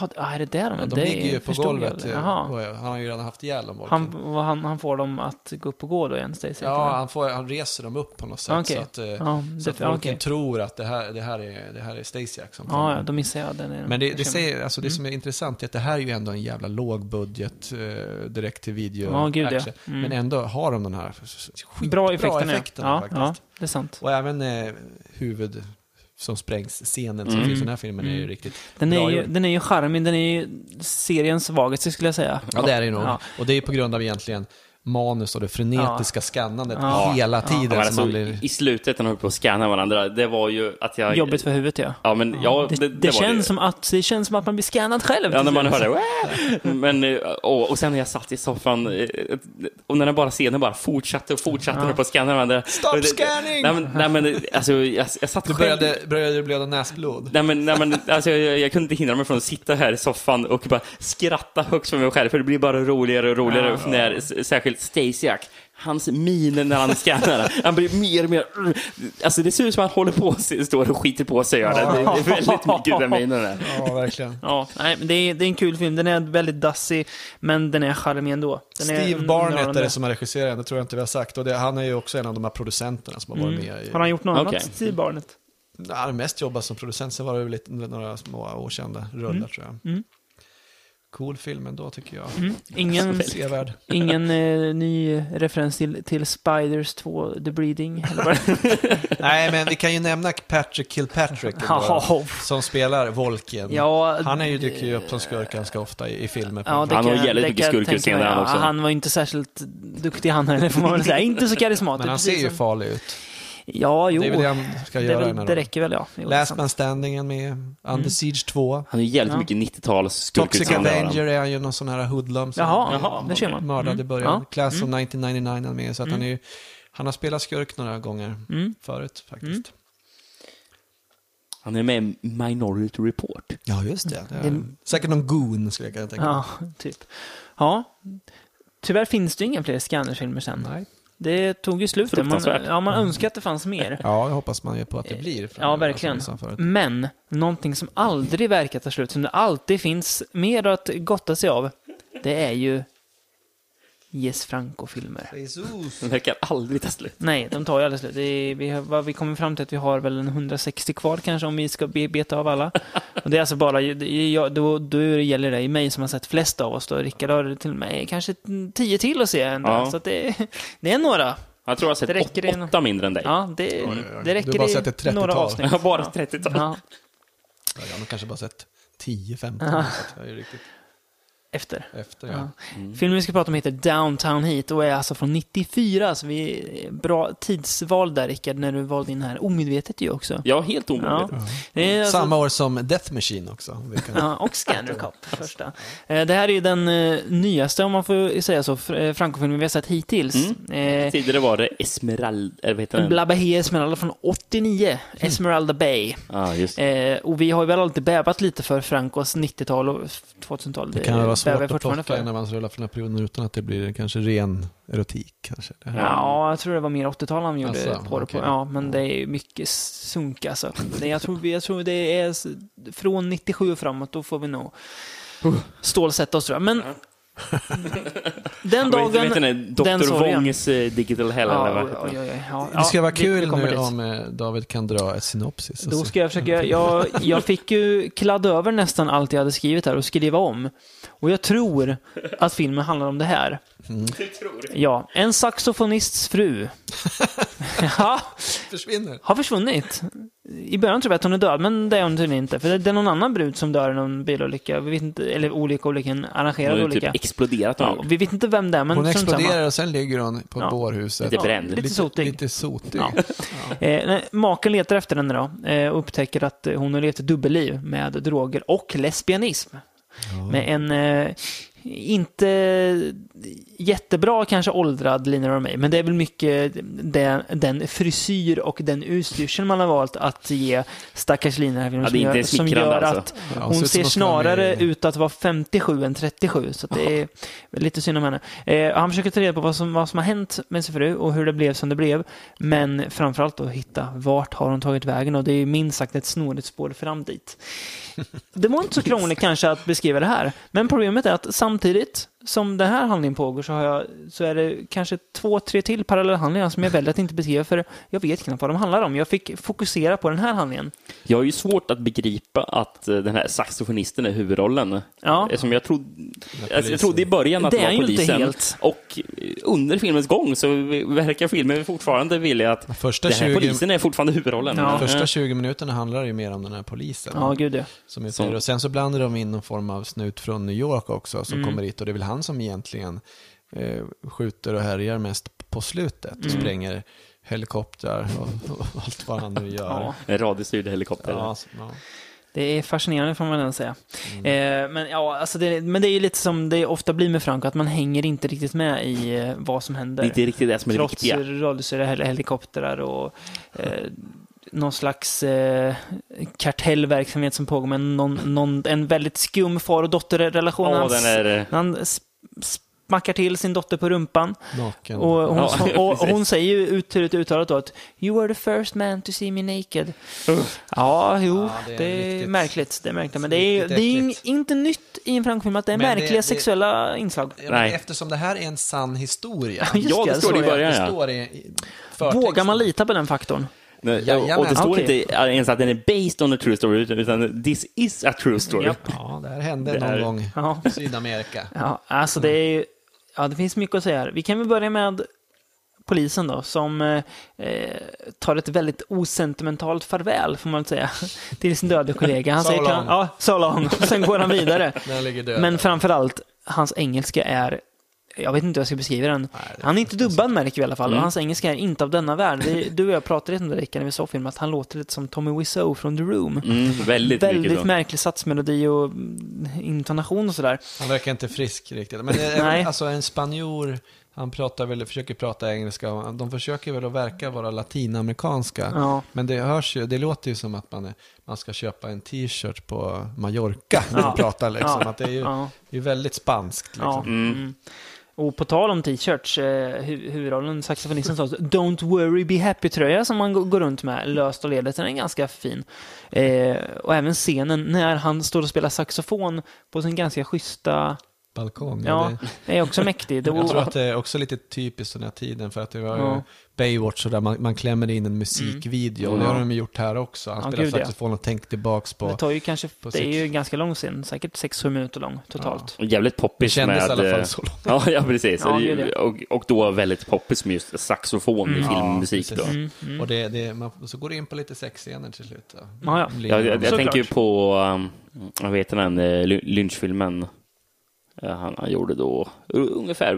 Speaker 2: Jaha, det- ah, är det där de är?
Speaker 3: De
Speaker 2: Det
Speaker 3: ligger ju på
Speaker 2: förstod
Speaker 3: golvet.
Speaker 2: jag.
Speaker 3: eh,
Speaker 2: Jaha.
Speaker 3: och Han har ju redan haft ihjäl dem, Volkin.
Speaker 2: Han, vad han, han får dem att gå upp och gå då igen, Stasiak?
Speaker 3: Ja,
Speaker 2: eller?
Speaker 3: han, får, han reser dem upp på något sätt.
Speaker 2: Okej.
Speaker 3: Så att, eh,
Speaker 2: Ja, det-
Speaker 3: så att Volkin
Speaker 2: okej.
Speaker 3: tror att det här, det här är, det här är Stasiak som kommer.
Speaker 2: ja, ja, då missar Mm, jag Mm. den.
Speaker 3: Men det, det, säger, alltså det som är intressant är att det här är ju ändå en jävla låg budget eh, direkt till video.
Speaker 2: Ja, gud, ja.
Speaker 3: action.
Speaker 2: Mm.
Speaker 3: Men ändå har de den här skitbra
Speaker 2: Bra
Speaker 3: effekten,
Speaker 2: effekterna, ja.
Speaker 3: faktiskt.
Speaker 2: ja. Ja, det är sant.
Speaker 3: Och även eh, huvud som sprängs-scenen som finns i den här filmen är ju riktigt
Speaker 2: Mm. Den är,
Speaker 3: bra
Speaker 2: ju,
Speaker 3: gjord.
Speaker 2: den är ju charmig, den är ju seriens svagaste skulle jag säga.
Speaker 3: Ja, det är det ju nog.
Speaker 2: Ja.
Speaker 3: Och det är ju på grund av egentligen manus och det frenetiska skannandet
Speaker 2: Ja.
Speaker 3: hela
Speaker 1: Ja,
Speaker 3: tiden.
Speaker 1: men
Speaker 3: som
Speaker 1: alltså,
Speaker 3: man blir...
Speaker 1: I slutet när de höll på att scanna varandra, det var ju att jag...
Speaker 2: Jobbigt för huvudet ja.
Speaker 1: Ja, men, ja,
Speaker 2: det,
Speaker 1: det,
Speaker 2: det
Speaker 1: var
Speaker 2: känns
Speaker 1: ju.
Speaker 2: Som att, det känns som att man blir scannad själv.
Speaker 1: Ja, när man
Speaker 2: till
Speaker 1: hör
Speaker 2: slut.
Speaker 1: det. "Wah!" Men, eh, och, och sen när jag satt i soffan eh, och när den bara scenen bara fortsatte och fortsatte när de på scanna varandra.
Speaker 3: Stop
Speaker 1: Och det-
Speaker 3: scanning!
Speaker 1: Nej, men, nej, men alltså, jag, jag satt
Speaker 3: Du
Speaker 1: själv.
Speaker 3: började, började det blöda näsblod.
Speaker 1: Nej, men, nej, men, alltså, jag, jag kunde inte hindra mig från att sitta här i soffan och bara skratta högst för mig själv, för det blir bara roligare och roligare. när, s- Särskilt Stasiak, hans min när han scannar, han blir mer och mer... Alltså, det ser ut som att han håller på sig, står och skiter på sig. Gör det. det är väldigt mycket den minen. Där.
Speaker 3: Ja, verkligen.
Speaker 2: Ja, nej, men det, är, det är en kul film. Den är väldigt dassig, men den är charmig ändå. Den är
Speaker 3: Steve Barnett
Speaker 2: underhållande.
Speaker 3: är det som har regisserat det tror jag inte vi har sagt. Och det, han är ju också en av de här producenterna som har varit med i...
Speaker 2: Mm. Har han gjort något
Speaker 1: Okej.
Speaker 2: annat, Steve Barnett?
Speaker 3: Nej, Han har mest jobbat som producent, sen var det väl lite, några små okända rullar
Speaker 2: Mm.
Speaker 3: tror jag. Cool film ändå tycker jag.
Speaker 2: Mm. Ingen,
Speaker 3: Sevärd.
Speaker 2: ingen eh, ny referens till, till Spiders 2, The Breeding? Eller vad det
Speaker 3: Nej, men vi kan ju nämna Patrick Kilpatrick ändå,
Speaker 2: Ja.
Speaker 3: som spelar Volken.
Speaker 2: Ja,
Speaker 3: Typ. han är ju, dyker ju upp som skurk ganska ofta i, i filmer. på-
Speaker 2: Ja, det
Speaker 1: Han
Speaker 2: kan-
Speaker 1: har jävligt
Speaker 2: det
Speaker 1: mycket
Speaker 2: kan jag
Speaker 1: skurkhus
Speaker 2: tänka mig.
Speaker 1: senare han också.
Speaker 2: Han var ju inte särskilt duktig han heller, får man väl säga. Inte så karismatisk.
Speaker 3: men han ser
Speaker 2: precis
Speaker 3: ju
Speaker 2: som-
Speaker 3: farlig ut.
Speaker 2: Ja, jo.
Speaker 3: det är väl det han ska
Speaker 2: Det,
Speaker 3: göra. i
Speaker 2: väl, Mm.
Speaker 3: den här
Speaker 2: det
Speaker 3: rollen.
Speaker 2: räcker väl, ja. Jo, liksom. det är
Speaker 3: Last
Speaker 2: sant.
Speaker 3: Man Standing med Under Siege 2.
Speaker 1: Han är jävligt
Speaker 2: Ja.
Speaker 1: mycket 90-tals skurkut.
Speaker 3: Toxic Avenger är ju någon sån här hoodlum som
Speaker 2: Jaha,
Speaker 3: är
Speaker 2: jaha, det ser man.
Speaker 3: mördad i
Speaker 2: Mm,
Speaker 3: början.
Speaker 2: ja,
Speaker 3: Class of 1999 han är med så att han, är, ju- han har spelat skurk några gånger
Speaker 2: Mm.
Speaker 3: förut faktiskt.
Speaker 1: Han är med i Minority Report.
Speaker 3: Ja, just det. det är,
Speaker 2: Det-
Speaker 3: Säkert någon goon skulle jag kunna tänka mig.
Speaker 2: Mm. Ja, typ. Ja. Tyvärr finns det ju inga fler Scanners-filmer sen.
Speaker 3: Nej.
Speaker 2: Det tog ju slut. där. Man,
Speaker 1: Fruktansvärt.
Speaker 2: ja, man önskar att det fanns mer.
Speaker 3: Ja, jag hoppas man ju på att det blir.
Speaker 2: Ja,
Speaker 3: framöver,
Speaker 2: verkligen. Mm.
Speaker 3: som vi sa förut.
Speaker 2: Men, någonting som aldrig verkar ta slut, som det alltid finns mer att gotta sig av, det är ju Jes Franco-filmer.
Speaker 3: Jesus.
Speaker 1: Den verkar aldrig ta slut.
Speaker 2: Nej, de tar ju aldrig slut. Det är, vi, har- vad vi kommer fram till att vi har väl en 160 kvar kanske om vi ska be- beta av alla. Och det är alltså bara, det är jag, då, då gäller det i mig som har sett flest av oss då. Rickard har till och med kanske 10 till att se ändå.
Speaker 1: Ja.
Speaker 2: Så att det, det är några.
Speaker 1: Jag tror jag har sett
Speaker 2: Det räcker
Speaker 1: åt-
Speaker 2: i en-
Speaker 1: åtta mindre än dig.
Speaker 2: Ja, det, det räcker
Speaker 3: Du har bara
Speaker 2: i
Speaker 3: sett ett 30-tal.
Speaker 2: några avsnitt.
Speaker 1: Jag har bara
Speaker 2: Ja.
Speaker 1: 30-tal.
Speaker 2: Ja,
Speaker 3: Ja, jag har nog kanske bara sett 10-15. så att Jag är ju riktigt
Speaker 2: efter.
Speaker 3: efter.
Speaker 2: Ja. Mm.
Speaker 3: Ja.
Speaker 2: Filmen vi ska prata om heter Downtown Heat och är alltså från 94. Så vi, bra tidsval där Rickard, när du valde in den här. Omedvetet ju också.
Speaker 1: Jag är helt omöjligt.
Speaker 2: Det är alltså-
Speaker 3: Samma år som Death Machine också. om vi kan-
Speaker 2: Ja, och Scanner Cup första. Eh, Det här är ju den eh, nyaste, om man får säga så, fr- eh, Franco-filmen vi har sett
Speaker 3: Mm.
Speaker 2: hittills. Eh,
Speaker 1: Tidigare var det Esmeralda, eller vad heter den?
Speaker 2: La Bahia Esmeralda från
Speaker 3: Mm.
Speaker 2: 89, Esmeralda Bay.
Speaker 1: Ja, just det.
Speaker 2: Eh, och vi har ju väl alltid bävat lite för Francos 90-tal och f- 2000-tal.
Speaker 3: Det kan väl vara
Speaker 2: bävar
Speaker 3: svårt
Speaker 2: jag
Speaker 3: att
Speaker 2: fortfarande
Speaker 3: plocka
Speaker 2: för.
Speaker 3: när man rullar från den här perioden utan att det blir kanske ren erotik kanske. Det här-
Speaker 2: Ja, jag tror det var mer 80-tal han gjorde
Speaker 3: Alltså,
Speaker 2: porr
Speaker 3: okej.
Speaker 2: på. Ja, men det är ju mycket sunk alltså. Det, jag, tror, jag tror det är s- från 97 och framåt, då får vi nog stålsätta oss tror jag. Men den
Speaker 1: Vad heter
Speaker 2: dagen...
Speaker 1: den? Dr.
Speaker 2: sorgen.
Speaker 1: Wångs eh, Digital Hell, eller vad
Speaker 2: Ja,
Speaker 1: heter den?
Speaker 2: oj, oj, oj, ja,
Speaker 3: Det ska
Speaker 2: ja,
Speaker 3: vara
Speaker 2: vi- vi
Speaker 3: kul
Speaker 2: kommer
Speaker 3: nu
Speaker 2: dit.
Speaker 3: om eh, David kan dra ett synopsis.
Speaker 2: Då
Speaker 3: Alltså.
Speaker 2: ska jag försöka, jag, jag fick ju kladda över nästan allt jag hade skrivit här och skriva om. Och jag tror att filmen handlar om det här.
Speaker 3: Mm.
Speaker 2: Ja, en saxofonists fru. ja,
Speaker 3: försvinner.
Speaker 2: har försvunnit. I början tror jag att hon är död, men det är hon tydligen inte. För det det är någon annan brud som dör i någon bilolycka. Vi vet inte, eller olika olyckan,
Speaker 1: Hon
Speaker 2: arrangerad
Speaker 1: har ju
Speaker 2: olycka.
Speaker 1: typ exploderat.
Speaker 2: ja,
Speaker 1: Ja,
Speaker 2: vi vet inte vem det är, men
Speaker 3: Hon
Speaker 2: strunt samma.
Speaker 3: exploderar och sen ligger hon på
Speaker 2: Ja.
Speaker 3: bårhuset.
Speaker 1: Lite bränd.
Speaker 2: Lite sotig.
Speaker 3: Lite sotig.
Speaker 2: Ja. Eh, nej, maken letar efter henne då eh, och upptäcker att eh, hon har levt ett dubbelliv med droger och lesbianism. Med en eh, inte jättebra kanske åldrad Lina Romay, men det är väl mycket det, den frisyr och den utstyrsel man har valt att ge stackars Lina här,
Speaker 1: Ja, det är
Speaker 2: som,
Speaker 1: inte
Speaker 2: gör, som
Speaker 1: smickrande
Speaker 2: gör
Speaker 1: alltså.
Speaker 2: att
Speaker 3: Ja,
Speaker 2: hon
Speaker 3: ser ut som
Speaker 2: ser
Speaker 3: att hon är-
Speaker 2: snarare ut att vara 57 än 37, så att det är lite synd om henne. Eh, han försöker ta reda på vad som, vad som har hänt med sin fru och hur det blev som det blev. Men framförallt då hitta vart har hon tagit vägen och det är ju minst sagt ett snårigt spår fram dit. Det var inte så krångligt kanske att beskriva det här, men problemet är att samtidigt som den här handlingen pågår så, har jag, så är det kanske två, tre till parallellhandlingar som jag väljer att inte beskriva för jag vet knappt vad de handlar om. Jag fick fokusera på den här handlingen.
Speaker 1: jag har ju svårt att begripa att eh, den här saxofonisten är huvudrollen.
Speaker 2: Ja.
Speaker 1: Som jag, trodde, alltså,
Speaker 3: polisen.
Speaker 1: jag trodde i början att
Speaker 2: Det
Speaker 1: det,
Speaker 2: är
Speaker 1: var
Speaker 2: ju inte
Speaker 1: polisen.
Speaker 2: helt.
Speaker 1: Och eh, under filmens gång så verkar filmen fortfarande vilja att
Speaker 3: Första
Speaker 1: den här
Speaker 3: 20
Speaker 1: polisen är fortfarande huvudrollen.
Speaker 2: Ja.
Speaker 3: Första 20 minuterna handlar ju mer om den här polisen.
Speaker 2: Mm. Ja, gud ja.
Speaker 3: Som är
Speaker 1: Som-
Speaker 3: fyra. Och sen så blandar de in någon form av snut från New York också
Speaker 2: Mm.
Speaker 3: som kommer hit och det är väl han som egentligen eh, skjuter och härjar mest på slutet.
Speaker 2: Mm.
Speaker 3: och Spränger helikoptrar och, och allt vad han nu
Speaker 2: ja.
Speaker 3: gör.
Speaker 1: En radiostyrd helikopter.
Speaker 3: Ja, så- ja.
Speaker 2: Det är fascinerande får man ändå säga.
Speaker 1: Mm.
Speaker 2: Eh, men, ja, alltså det, men det är ju lite som det ofta blir med Franco, att man hänger inte riktigt med i eh, vad som händer.
Speaker 1: Det är inte riktigt det som är det
Speaker 2: Trots
Speaker 1: viktiga.
Speaker 2: radiostyrda hel- helikoptrar och eh, någon slags eh, kartellverksamhet som pågår med någon, någon, en väldigt skum far och dotterrelation.
Speaker 1: Ja,
Speaker 2: Han s-
Speaker 1: den är... eh,
Speaker 2: Han sp- smackar till sin dotter på rumpan.
Speaker 3: Naken.
Speaker 2: Och hon,
Speaker 1: Ja,
Speaker 2: och, och hon
Speaker 1: precis.
Speaker 2: säger ju uttryckligt uttalat då att You were the first man to see me naked. Ja, jo,
Speaker 3: Ja,
Speaker 2: det
Speaker 3: det
Speaker 2: är,
Speaker 3: är riktigt-
Speaker 2: märkligt. Det är märkligt. Men det är,
Speaker 3: riktigt
Speaker 2: det är ju
Speaker 3: äckligt.
Speaker 2: inte nytt i en Franco-film att det är
Speaker 3: Men det-
Speaker 2: märkliga
Speaker 3: det-
Speaker 2: sexuella inslag.
Speaker 3: Ja, men
Speaker 1: Nej.
Speaker 3: Eftersom det här är en sann historia.
Speaker 2: Just
Speaker 1: Ja,
Speaker 2: det,
Speaker 1: det står
Speaker 2: så
Speaker 1: det i
Speaker 2: är det.
Speaker 1: början.
Speaker 3: Det
Speaker 1: ja.
Speaker 3: står i- i
Speaker 2: Vågar
Speaker 3: förtexten.
Speaker 2: man lita på den faktorn?
Speaker 1: Nej,
Speaker 3: Jajamän.
Speaker 1: och- och det står
Speaker 2: Okej.
Speaker 1: inte eh, ens att den är based on a true story, utan- utan this is a true story.
Speaker 2: Japp.
Speaker 3: Ja, det här hände
Speaker 1: Det
Speaker 3: någon
Speaker 1: är-
Speaker 3: gång
Speaker 2: Ja.
Speaker 3: i Sydamerika.
Speaker 2: Ja, alltså det är ju, ja, det finns mycket att säga här. Vi kan väl börja med polisen då, som eh, eh, tar ett väldigt osentimentalt farväl, får man väl säga, till sin döde kollega. Han
Speaker 3: So
Speaker 2: säger till honom,
Speaker 3: long.
Speaker 2: ja, so long, och sen går han vidare.
Speaker 3: När han ligger död.
Speaker 2: Men framförallt, hans engelska är jag vet inte hur jag ska beskriva den. han är inte dubbad märker vi i alla fall. Och hans engelska är inte av denna värld. Vi, du och jag pratade lite om det Rickard, när vi såg filmen, att han låter lite som Tommy Wiseau från The Room.
Speaker 1: Mm, väldigt, mycket
Speaker 2: Väldigt
Speaker 1: så.
Speaker 2: märklig satsmelodi och mm, intonation och sådär.
Speaker 3: Han verkar inte frisk riktigt. Men det är
Speaker 2: Nej.
Speaker 3: väl- alltså en spanjor, han pratar väl, försöker prata engelska. och De försöker väl att verka vara latinamerikanska.
Speaker 2: Ja.
Speaker 3: Men det hörs ju, det låter ju som att man, är, man ska köpa en t-shirt på Mallorca när
Speaker 2: Ja.
Speaker 3: man pratar liksom.
Speaker 2: Ja.
Speaker 3: Att det är ju
Speaker 2: Ja.
Speaker 3: det är väldigt spanskt liksom.
Speaker 2: Ja. Mm. Och på tal om t-shirts, eh, hu- huvudrollen, saxofonisten sa “Don't worry, be happy”-tröja som man g- går runt med, löst och ledigt, den är ganska fin. Eh, och även scenen när han står och spelar saxofon på sin ganska schyssta,
Speaker 3: Balkong.
Speaker 2: ja,
Speaker 3: Det,
Speaker 2: är också mäktig. Det
Speaker 3: jag tror
Speaker 2: var,
Speaker 3: att det är också lite typiskt den här tiden för att det var ju
Speaker 2: Ja. Mm.
Speaker 3: Baywatch och där man, man klämmer in en musikvideo. Och det har de ju gjort här också. Han
Speaker 2: Ja,
Speaker 3: spelar
Speaker 2: gud, ja.
Speaker 3: saxofon och tänker tillbaks på...
Speaker 2: det tar ju kanske,
Speaker 3: på
Speaker 2: det är
Speaker 3: sitt-
Speaker 2: ju en ganska lång scen, säkert 6-7 minuter lång totalt.
Speaker 1: Och Jävligt
Speaker 3: Det
Speaker 1: poppis med...
Speaker 3: kändes i alla fall
Speaker 1: eh,
Speaker 3: så långt.
Speaker 1: Ja, ja precis.
Speaker 2: Ja,
Speaker 1: Det-
Speaker 2: gud, ja.
Speaker 1: och, och då väldigt poppis med just saxofon i filmmusik.
Speaker 3: precis.
Speaker 1: Då.
Speaker 3: Och det, det, man, så går det in på lite sexscener till slut. Då.
Speaker 2: Mm, Ja, ja.
Speaker 3: Blir-
Speaker 1: Jag, jag, jag
Speaker 2: Såklart.
Speaker 1: tänker ju på, um, vad heter den, eh, Ly- Lynch-filmen eh, han, han gjorde då, u- ungefär...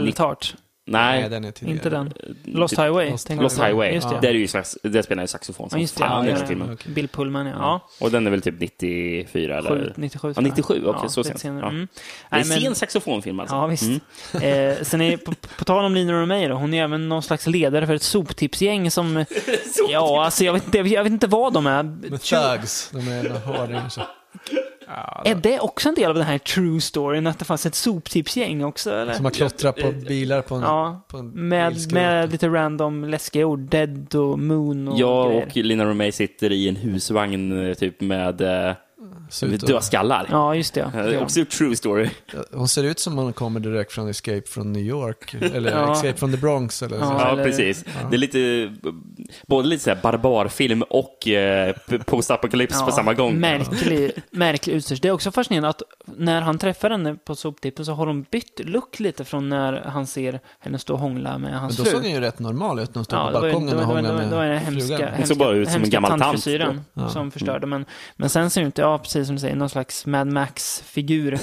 Speaker 2: Wild Heart,
Speaker 1: Nej,
Speaker 3: Nej, den är tidigare.
Speaker 2: inte den. Lost
Speaker 1: Lost
Speaker 2: Highway.
Speaker 3: Lost
Speaker 2: tänkte jag
Speaker 1: Lost
Speaker 2: på.
Speaker 1: Highway.
Speaker 2: Just det.
Speaker 1: Där, är ju, slags- där spelar han ju saxofon
Speaker 2: Ja,
Speaker 1: som
Speaker 2: just det.
Speaker 1: fan i
Speaker 2: Ja,
Speaker 1: den
Speaker 2: ja,
Speaker 1: filmen.
Speaker 2: ja. Bill Pullman, ja. ja.
Speaker 1: Och den är väl typ 94
Speaker 2: Sju-
Speaker 1: eller?
Speaker 2: 97.
Speaker 1: Ja, 97, okej, så
Speaker 2: lite
Speaker 1: sent.
Speaker 2: senare.
Speaker 1: Ja.
Speaker 2: Mm.
Speaker 1: Det är
Speaker 2: Nej,
Speaker 1: en
Speaker 2: men-
Speaker 1: sen saxofonfilm alltså.
Speaker 2: Ja, visst.
Speaker 1: Mm.
Speaker 2: Eh, sen är, på, på tal om Lina Romay då, hon är även någon slags ledare för ett soptipsgäng som... ja, alltså jag vet, inte, jag vet inte vad de är.
Speaker 3: Med
Speaker 2: True-
Speaker 3: thugs. De är hårdare. Så.
Speaker 2: Är det också en del av den här true storyn, att det fanns ett soptipsgäng också, eller?
Speaker 3: Som har klottrat på bilar på en,
Speaker 2: Ja,
Speaker 3: på en
Speaker 2: med,
Speaker 3: bilskrot.
Speaker 2: med lite random läskiga ord. Dead och moon och
Speaker 1: Jag
Speaker 2: grejer.
Speaker 1: och Lina Romay sitter i en husvagn eh, typ med eh,
Speaker 3: Ser ut att-
Speaker 1: dödskallar.
Speaker 2: Ja, just det.
Speaker 1: Det är också en true story.
Speaker 3: Hon ser ut som hon kommer direkt från Escape från New York. Eller
Speaker 2: Ja.
Speaker 3: Escape from the Bronx. Eller
Speaker 2: Ja.
Speaker 3: så.
Speaker 1: Ja,
Speaker 2: eller-
Speaker 1: precis. Det är lite, både lite så här barbarfilm och eh, postapokalyps på samma gång.
Speaker 2: Märklig, märklig utstyrsel. Det är också fascinerande att när han träffar henne på soptippen så har de bytt look lite från när han ser henne stå och hångla med
Speaker 3: Men
Speaker 2: hans
Speaker 3: då
Speaker 2: fru.
Speaker 3: såg den ju rätt normal ut när hon stod
Speaker 2: Ja,
Speaker 3: på
Speaker 2: det var ju-
Speaker 3: balkongen
Speaker 2: det
Speaker 3: och
Speaker 2: var- det var-
Speaker 3: hånglade
Speaker 2: det var den
Speaker 3: med
Speaker 2: hemska,
Speaker 3: frugan.
Speaker 1: Det såg bara ut som en
Speaker 2: hemska
Speaker 1: gammal tant.
Speaker 2: tandfrisyren som förstörde. Men, men sen ser det ut, ja precis som du säger, någon slags Mad Max-figur.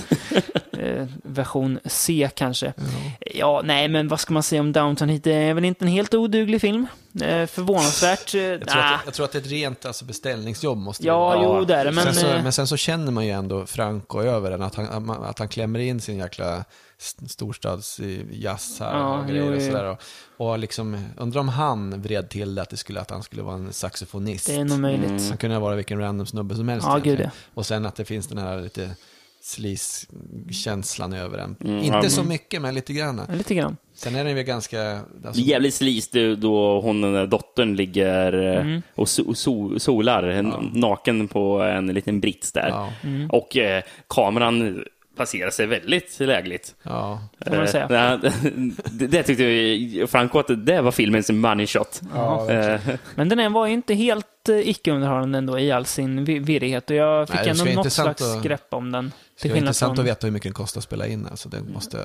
Speaker 2: eh, version C kanske. Ja. nej men vad ska man säga om Downton Heat? Det är väl inte en helt oduglig film. Eh, förvånansvärt. Eh,
Speaker 3: Jag tror,
Speaker 2: nah.
Speaker 3: att, jag tror att det är ett rent alltså, beställningsjobb måste det
Speaker 2: Ja,
Speaker 3: vara.
Speaker 2: jo det är det. Men,
Speaker 3: sen så,
Speaker 2: eh,
Speaker 3: men sen så känner man ju ändå Franco över den, att han, att han klämmer in sin jäkla st- storstadsjazz här
Speaker 2: Ja,
Speaker 3: och grejer
Speaker 2: jo,
Speaker 3: och
Speaker 2: jo.
Speaker 3: sådär. Och, och liksom, undrar om han vred till det att, det skulle, att han skulle vara en saxofonist.
Speaker 2: det är nog möjligt.
Speaker 3: Han kunde vara vilken random snubbe som helst.
Speaker 2: Ja,
Speaker 3: egentligen.
Speaker 2: gud,
Speaker 3: Och sen att det finns den här lite sleaze-känslan över den.
Speaker 2: Mm.
Speaker 1: ja,
Speaker 3: Inte
Speaker 1: men-
Speaker 3: så mycket, men lite grann.
Speaker 2: Lite grann.
Speaker 3: Sen är den ju ganska... alltså-
Speaker 1: Jävligt slis du- då hon, den där dottern, ligger eh,
Speaker 2: Mm.
Speaker 1: och so- so- solar en- naken på en liten brits där.
Speaker 3: Ja.
Speaker 2: Mm.
Speaker 1: Och eh, kameran placerar sig väldigt lägligt.
Speaker 3: Ja.
Speaker 2: Får man
Speaker 1: Eh,
Speaker 2: säga.
Speaker 1: nej, det, det tyckte vi- Franco att det var filmens money shot.
Speaker 3: Ja,
Speaker 1: Eh,
Speaker 2: Men den här var ju inte helt eh, icke-underhållande ändå i all sin vi- virrighet och jag fick
Speaker 3: Nej, det
Speaker 2: ändå
Speaker 3: skulle vara
Speaker 2: något
Speaker 3: intressant
Speaker 2: slags
Speaker 3: att-
Speaker 2: grepp om den.
Speaker 3: Det
Speaker 2: Till
Speaker 3: är
Speaker 2: skillnad
Speaker 3: intressant
Speaker 2: från...
Speaker 3: att veta hur mycket den kostar att spela in. Alltså, det måste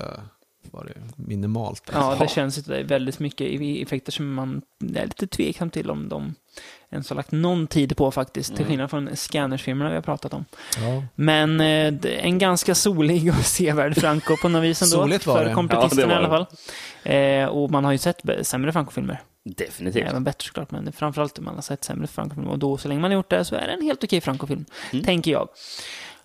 Speaker 3: vara minimalt. Alltså.
Speaker 2: Ja, det känns ju det är väldigt mycket i- i effekter som man är lite tveksam till om de ens har lagt någon tid på faktiskt,
Speaker 3: Mm.
Speaker 2: till skillnad från scannersfilmerna vi har pratat om.
Speaker 3: Ja.
Speaker 2: Men eh, det- en ganska solig och sevärd Franco på något vis ändå.
Speaker 3: Soligt var
Speaker 2: för
Speaker 3: det.
Speaker 2: kompetisterna
Speaker 1: Ja, det
Speaker 2: i
Speaker 1: var
Speaker 2: alla fall. Eh, och man har ju sett be- sämre Franco-filmer.
Speaker 1: definitivt.
Speaker 2: Även bättre såklart, men framförallt om man har sett sämre Franco-filmer. Och då, så länge man har gjort det, så är det en helt okej Franco-film,
Speaker 1: Mm.
Speaker 2: tänker jag.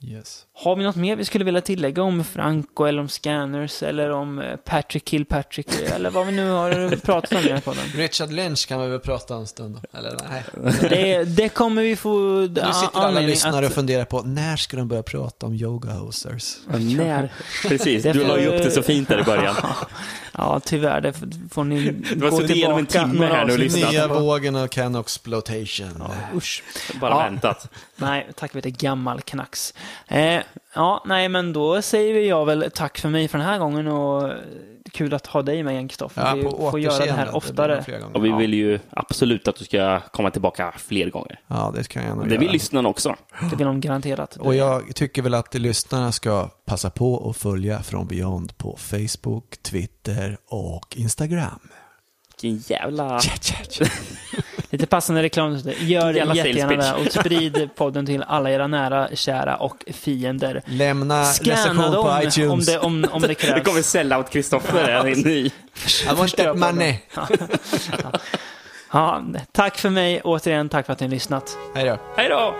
Speaker 3: Yes.
Speaker 2: Har vi något mer vi skulle vilja tillägga om Franco eller om Scanners eller om eh, Patrick Kilpatrick eller vad vi nu har pratat om i den här podden?
Speaker 3: Richard Lynch kan vi väl prata en stund om? Eller nej.
Speaker 2: Det, det kommer vi få
Speaker 3: Nu sitter alla lyssnare och
Speaker 2: att...
Speaker 3: funderar på när ska de börja prata om yoga hosers?
Speaker 1: När? Precis,
Speaker 2: Det
Speaker 1: du
Speaker 2: får-
Speaker 1: la ju upp det så fint där i början.
Speaker 2: Ja, tyvärr, det f- får ni
Speaker 1: var
Speaker 2: gå
Speaker 1: så det genom en
Speaker 2: tillbaka
Speaker 1: timme
Speaker 2: några
Speaker 1: här nu och
Speaker 2: avsnitt.
Speaker 1: lyssna.
Speaker 3: Nya vågen av Can Exploitation.
Speaker 2: Usch.
Speaker 1: Bara
Speaker 2: Ja.
Speaker 1: väntat.
Speaker 2: Nej, tack vare gammal knax. Eh, ja, nej, men då säger jag väl tack för mig för den här gången och eh, kul att ha dig med igen, Kristoffer.
Speaker 3: Ja,
Speaker 2: vi
Speaker 3: på
Speaker 2: får göra det
Speaker 3: återseende.
Speaker 2: här
Speaker 3: blir nog
Speaker 2: oftare.
Speaker 3: flera
Speaker 1: Och
Speaker 3: gånger.
Speaker 1: vi vill ju absolut att du ska komma tillbaka fler gånger.
Speaker 3: Ja, det kan jag gärna
Speaker 1: Det vill
Speaker 3: göra.
Speaker 1: lyssnarna också.
Speaker 2: Det blir nog garanterat.
Speaker 3: Och jag tycker väl att lyssnarna ska passa på att följa Från Beyond på Facebook, Twitter och Instagram.
Speaker 1: Vilken jävla...
Speaker 3: Tja, tja, tja.
Speaker 2: Lite passande reklam. så det- Gör
Speaker 1: Jävla sales
Speaker 2: jättegärna
Speaker 1: pitch.
Speaker 2: det och sprid podden till alla era nära, kära och fiender.
Speaker 3: Lämna
Speaker 2: Scanna
Speaker 3: recension
Speaker 2: dem
Speaker 3: på
Speaker 2: om
Speaker 3: iTunes.
Speaker 2: det, om, om det
Speaker 1: Det
Speaker 2: krävs.
Speaker 1: kommer sell-out Kristoffer. Ja,
Speaker 3: I want
Speaker 2: Förstör
Speaker 3: that
Speaker 2: podden.
Speaker 3: money.
Speaker 2: Ja, tack för mig. Återigen, tack för att ni har lyssnat.
Speaker 3: Hej då.
Speaker 1: Hej då!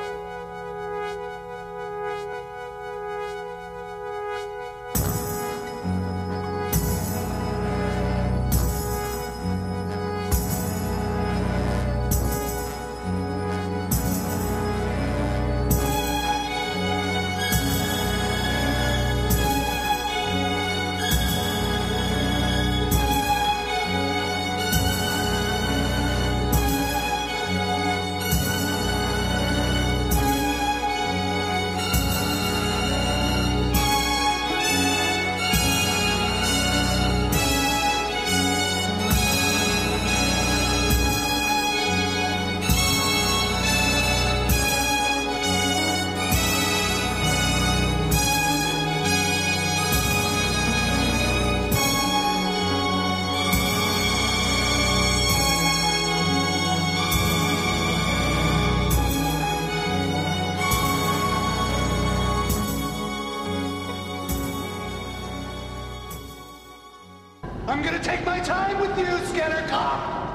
Speaker 5: I'm gonna take my time with you, Scanner Cop!